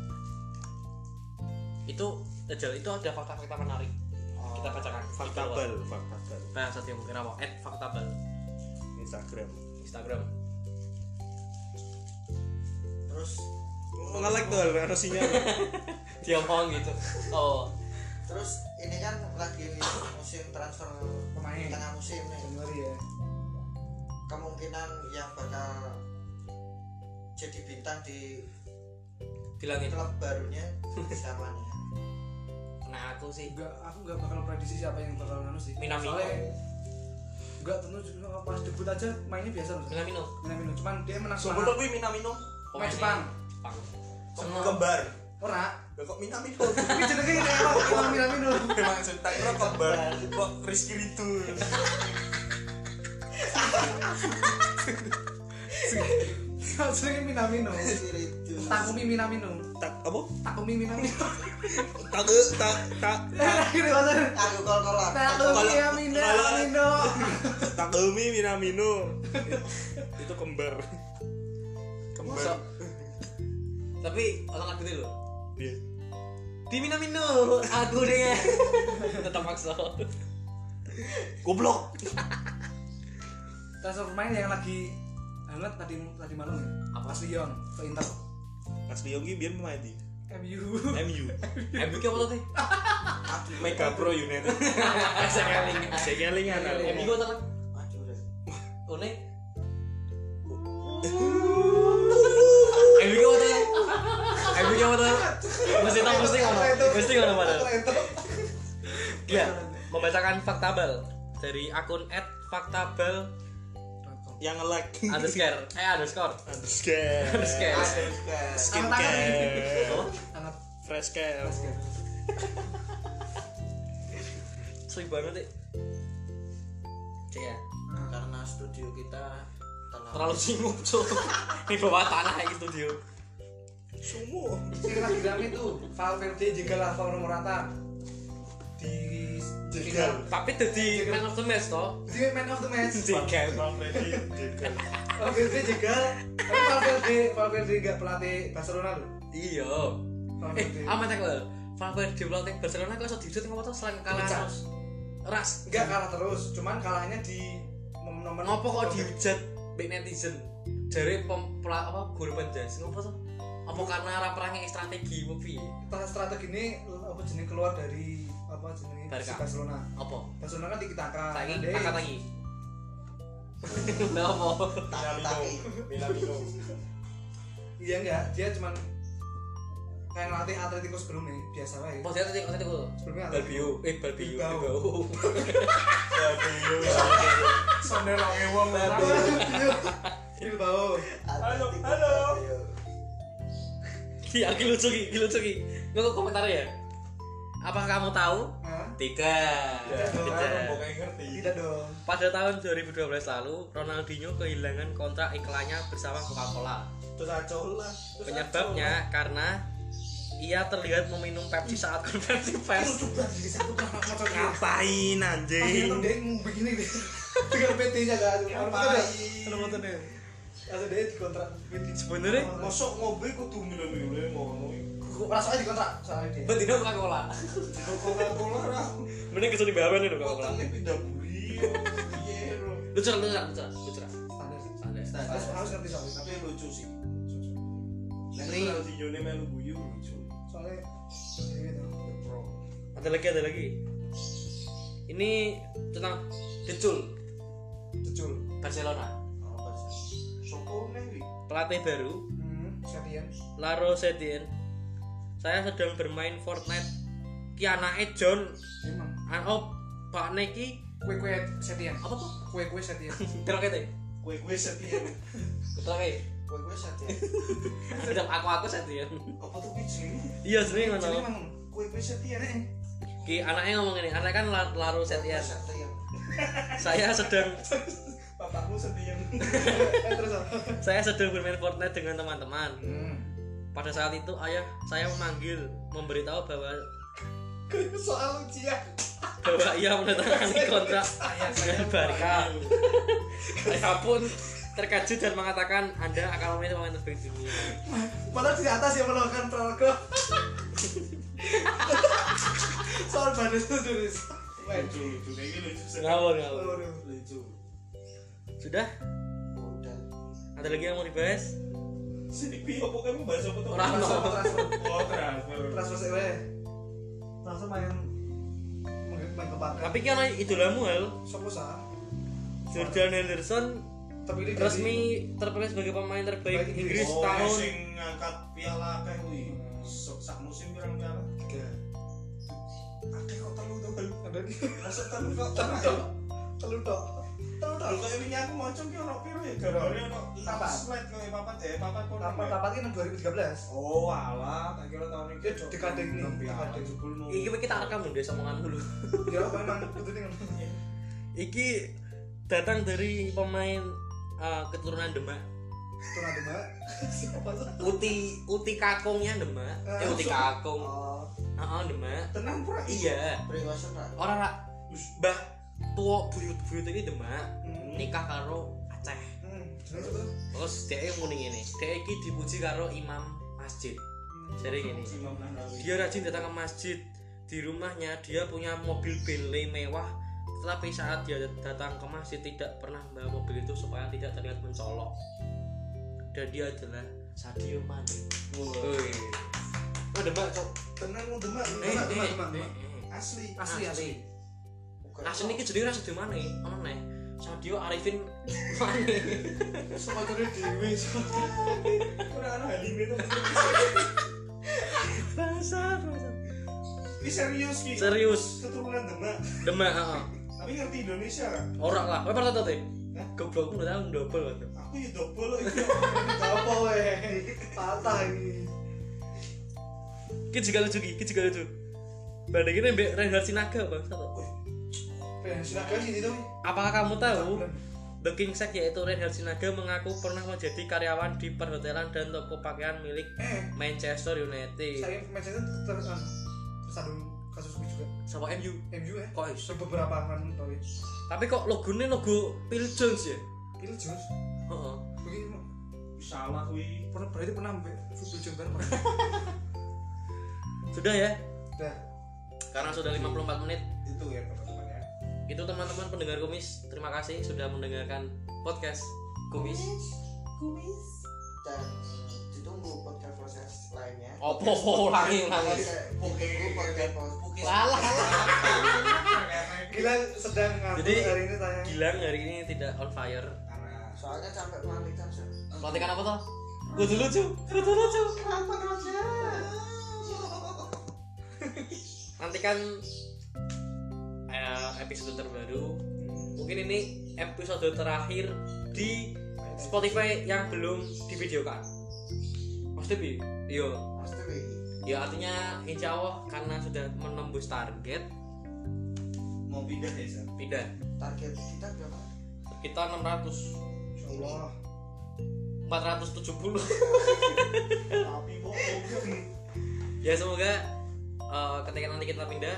itu Ejal, itu ada fakta-fakta menarik kita bacakan
Faktabel, faktabel.
nah satu yang mungkin apa at faktabel
Instagram.
Instagram
Terus
Ngelek tuh harus sinyal.
dia ngomong gitu oh
terus ini kan lagi musim transfer
Pemain.
tengah musim nih.
Januari ya.
Kemungkinan yang bakal jadi bintang di
bilangin
klub barunya siapa nih?
nah aku sih
Enggak, aku enggak bakal prediksi siapa yang bakal nganu sih.
Minamino.
Soalnya enggak tentu juga pas debut aja mainnya biasa loh.
Minamino
Minamino, cuman dia menang
sebelum kuwi minamino
pemainnya
Jepang.
Jepang Seneng.
kembar
Ora.
ya kok minamino
Ini jenenge ini apa? Minamino, Minamino.
maksud tak kira kembar kok Rizky Ridho
Jenenge Minamino.
Spiritus.
Takumi Minamino.
Tak apa?
Takumi Minamino. Eh,
Tak tak tak
Akhirnya bahasa.
Aku kol-kolan.
Takumi
Kalau-
Minamino.
Takumi Minamino itu kembar kembar
Masa? tapi orang aku dulu
Iya.
dia
di Minamino aku deh tetap maksa
goblok
Transfer pemain yang lagi hangat tadi tadi malam ya.
Apa?
Asli Yon ke Inter.
Mas Liongi biar pemain di
MU.
MU
Embi kayak apa tadi?
Mega Pro United
Saya keling.
saya kelingan
Embi gue tenang.
Waduh, Ren.
Une. Embi kayak apa tadi? Embi kayak apa tadi? Mesti tahu mesti ngono. Mesti ngono padahal. Ya, membacakan faktabel dari akun @faktabel
yang nge-lag
underscore eh underscore
underscore
underscore
Aduh, guys.
skincare
Hangat.
fresh care
sering banget deh cek ya
Karena studio kita tenang.
terlalu singgung cuy di bawah tanah itu dia
semua
Sing lagi rame tuh Valverde jegal lah Alvaro Morata. Di jegal.
tapi jadi man of the match toh
Di man of the match.
tiga
Valverde jegal. Tapi Valverde Valverde enggak pelatih Barcelona loh.
iya eh
Valverde.
amat aku Valverde pelatih Barcelona kok iso didut ngopo to selang kalah
Pecah.
terus ras
Enggak kalah terus, cuman kalahnya di mom- nomor
ngopo kok dihujat mbek netizen dari pem pela- apa guru penjelas ngopo to apa karena ra perangnya strategi apa piye
strategi ini apa jenis keluar dari apa apa jenenge
Barca.
si Barcelona
Apa?
Barcelona kan tiki taka
Saiki
Dek.
angkat lagi. Lah apa?
Taki-taki.
Minamino.
iya enggak dia cuman kayak ngelatih Atletico sebelumnya biasa wae
Apa sih tadi kok tadi kok?
sebelumnya Atletico
Balbio, eh Balbio,
Bilbao.
Bilbao.
Sondel lange wong Bilbao
Halo,
halo.
Ki, aku lucu ki, ki lucu ki. Nggak komentar ya. Apa kamu tahu?
Hah?
Tidak.
Ya,
Tidak.
orang mau kayak ngerti.
tidak dong
Pada tahun 2012 lalu, Ronaldinho kehilangan kontrak iklannya bersama Coca-Cola.
Terus acol lah. Terus
Penyebabnya karena ia terlihat meminum Pepsi saat konversi pers.
acol. ngapain
Akhirnya tuh
anjing?
dia begini deh tinggal PT nya gak
Ngapain?
Kenapa tuh Lalu dia dikontrak PT
Sebenarnya
Masuk ngombe kudu minum-minum ngono.
Rasanya dikontrak soalnya dia
Bendino Coca-Cola.
Coca-Cola ra.
Mending kesini bahan ini Coca-Cola.
Potongnya pindah buri. yo. Piye, bro.
Lucu, lucu, lucu, lucu.
Standar sih.
Santai.
Harus harus ngerti soalnya
Tapi lucu sih.
Ini
Ronaldinho ini melu guyu lucu.
Soalnya ini tuh
Pro.
ada lagi, ada lagi. Ini tentang Decul
Jejul
Barcelona.
Sopo neh iki?
Pelatih baru
Hmm, Setian
Laro Setien. Saya sedang bermain Fortnite. Ki anake John
Emang
Anop Pak Neki
Kue-kue Setian
apa tuh?
Kue-kue Setian
Terokete.
Kue-kue setia.
Terokete.
Gue gue saja.
Sedang aku aku Setien.
Apa tuh kuwi jenenge?
Iya sering
Jadi
ngono.
emang
Kue-kue setia nih.
Ki anaknya ngomong ini, anaknya kan la- Laro Setien.
Satria.
Saya sedang
Bapakmu setia.
Eh terus apa?
saya sedang bermain Fortnite dengan teman-teman.
Hmm
Pada saat itu ayah saya memanggil memberitahu bahwa
Soal lucu ya
bahwa ia menandatangani kontrak dengan Barca. Iya, Saya pun terkejut dan mengatakan Anda akan memilih pemain terbaik dunia.
Padahal di atas yang melakukan program Soal badan itu tulis
Lucu lucu Kayak gini lucu. sekali.
Ngawur ngawur.
Waduh.
Lucu.
Sudah?
Udah.
Ada lagi yang mau dibahas?
Sini pi opo kamu bahas apa tuh?
Ora ono.
Transfer, transfer.
Oh, transfer.
Transfer sih weh Transfer main main- main ke Barca
Tapi kan idolamu Hel,
Sopo sah
Jordan Henderson
Terpilih dari-
resmi terpilih sebagai pemain terbaik
Baik
Inggris
Oh,
tahun
sing ngangkat piala akeh kuwi. Sok- Sak musim pirang piala?
Tiga.
Akeh kok telu tuh. Bel.
Ada lagi.
Masuk telu kok
Telu
telu.
dong. Telu dong. Telu dong.
Kalau kayak ini aku mocong ki ono piro ya gara-gara ono
Papat.
slide kok papat deh, papat pun.
Tamat tamat ini 2013.
Oh, alah, tak kira tahun
Dia
ini
dekade ini, dekade.
Iki kita rekam deh omongan dulu.
Ya apa emang betul nih.
Iki datang dari pemain eh, keturunan Demak.
Itu ada mbak. Siapa sih?
Uti Uti Kakungnya Demak.
Eh,
Eh Uti
so-
Kakung.
Oh,
Heeh, Demak.
Tenang pura
Iya.
Priwasan lah.
Orang rak mbah tua buyut-buyut iki Demak
Hmm.
nikah karo Aceh.
Hmm. Jenis apa?
Terus dia muni ngene. Dia iki dipuji karo imam masjid. Jadi gini.
Imam Nahrawi.
Dia rajin datang ke masjid. Di rumahnya dia punya mobil Bentley mewah. Tetapi saat dia datang ke masjid tidak pernah membawa mobil itu supaya tidak terlihat mencolok. Dan dia adalah Sadio Mane. Woi. Oh, debat cok.
Tenang mau demak,
Eh,
demak, demak,
eh,
demak, demak.
eh.
Asli.
Asli, asli.
Asli iki jenenge ora Sadio Mane, ono neh. Sadio Arifin Mane.
Sepatu dewe.
Kurang ono halime tuh.
Dasar. dasar.
Ini serius ki.
Serius,
Keturunan Demak.
demak heeh.
Tapi ngerti Indonesia kan?
Ora lah, kowe pernah tau teh?
Hah?
Goblokmu udah tau double kan.
Aku ya double loh itu.
Apa weh? Patah ini.
Ki juga lucu ki, ki juga lucu. Bandinginnya Mbak Reinhard Sinaga bang.
Pengen silakan sih itu.
Apakah kamu tahu The King Sek yaitu Reinhard Sinaga mengaku pernah menjadi karyawan di perhotelan dan toko pakaian milik
Eh,
Manchester United.
saya Manchester terus tersandung kasus ini juga.
Sama MU.
MU ya.
Kok iso?
Beberapa kan tau ya.
Tapi kok logone logo Phil Jones ya?
Ini jelas.
Heeh.
Begini Mak.
Salah kuwi.
pernah berarti pernah sampai football jember pernah.
Sudah ya,
Dah.
karena sudah 54 menit.
Itu ya teman-teman ya.
Itu teman-teman pendengar kumis, terima kasih sudah mendengarkan podcast kumis.
Dan ditunggu eh, podcast proses lainnya
Opo ulangi ulangi. Lalah lalah.
Gilang sedang nganggur
Jadi-
hari ini tanya.
Gilang hari ini tidak on fire.
Soalnya sampai pelantikan Sir.
Pelantikan apa toh? Lucu lucu, lucu lucu. Nantikan eh, episode terbaru. Mungkin ini episode terakhir di Spotify yang belum divideokan. iya. Mas Debi, yo
Pasti wih.
Ya artinya insya Allah karena sudah menembus target
mau pindah ya Sam?
pindah
target kita berapa?
kita 600
Insyaallah.
470
tapi kok
ya semoga eh, ketika nanti kita pindah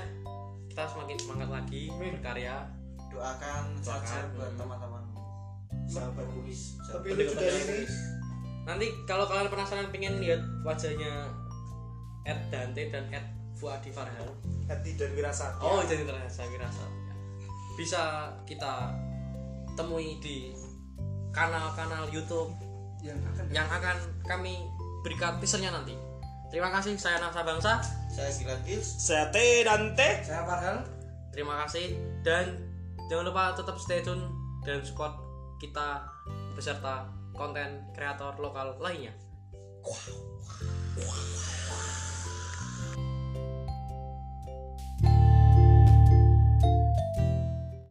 kita semakin semangat lagi berkarya
Doakan saja
Doakan.
buat teman-teman.
sahabat kumis
Tapi
sahabat
lucu dari
kumis.
ini.
nanti kalau kalian penasaran pengen lihat wajahnya Ed Dante dan Ed Fuadi
Ya.
Farhan
hati dan wirasat
oh jadi terasa wirasa ya. bisa kita temui di kanal-kanal YouTube
Yang akan
yang akan kami berikan teasernya nanti. Terima kasih saya Nafsa Bangsa.
Saya Gilang Gils.
Saya T dan T.
kan saya Farhan.
Terima kasih dan jangan lupa tetap stay tune dan support kita beserta konten kreator lokal lainnya.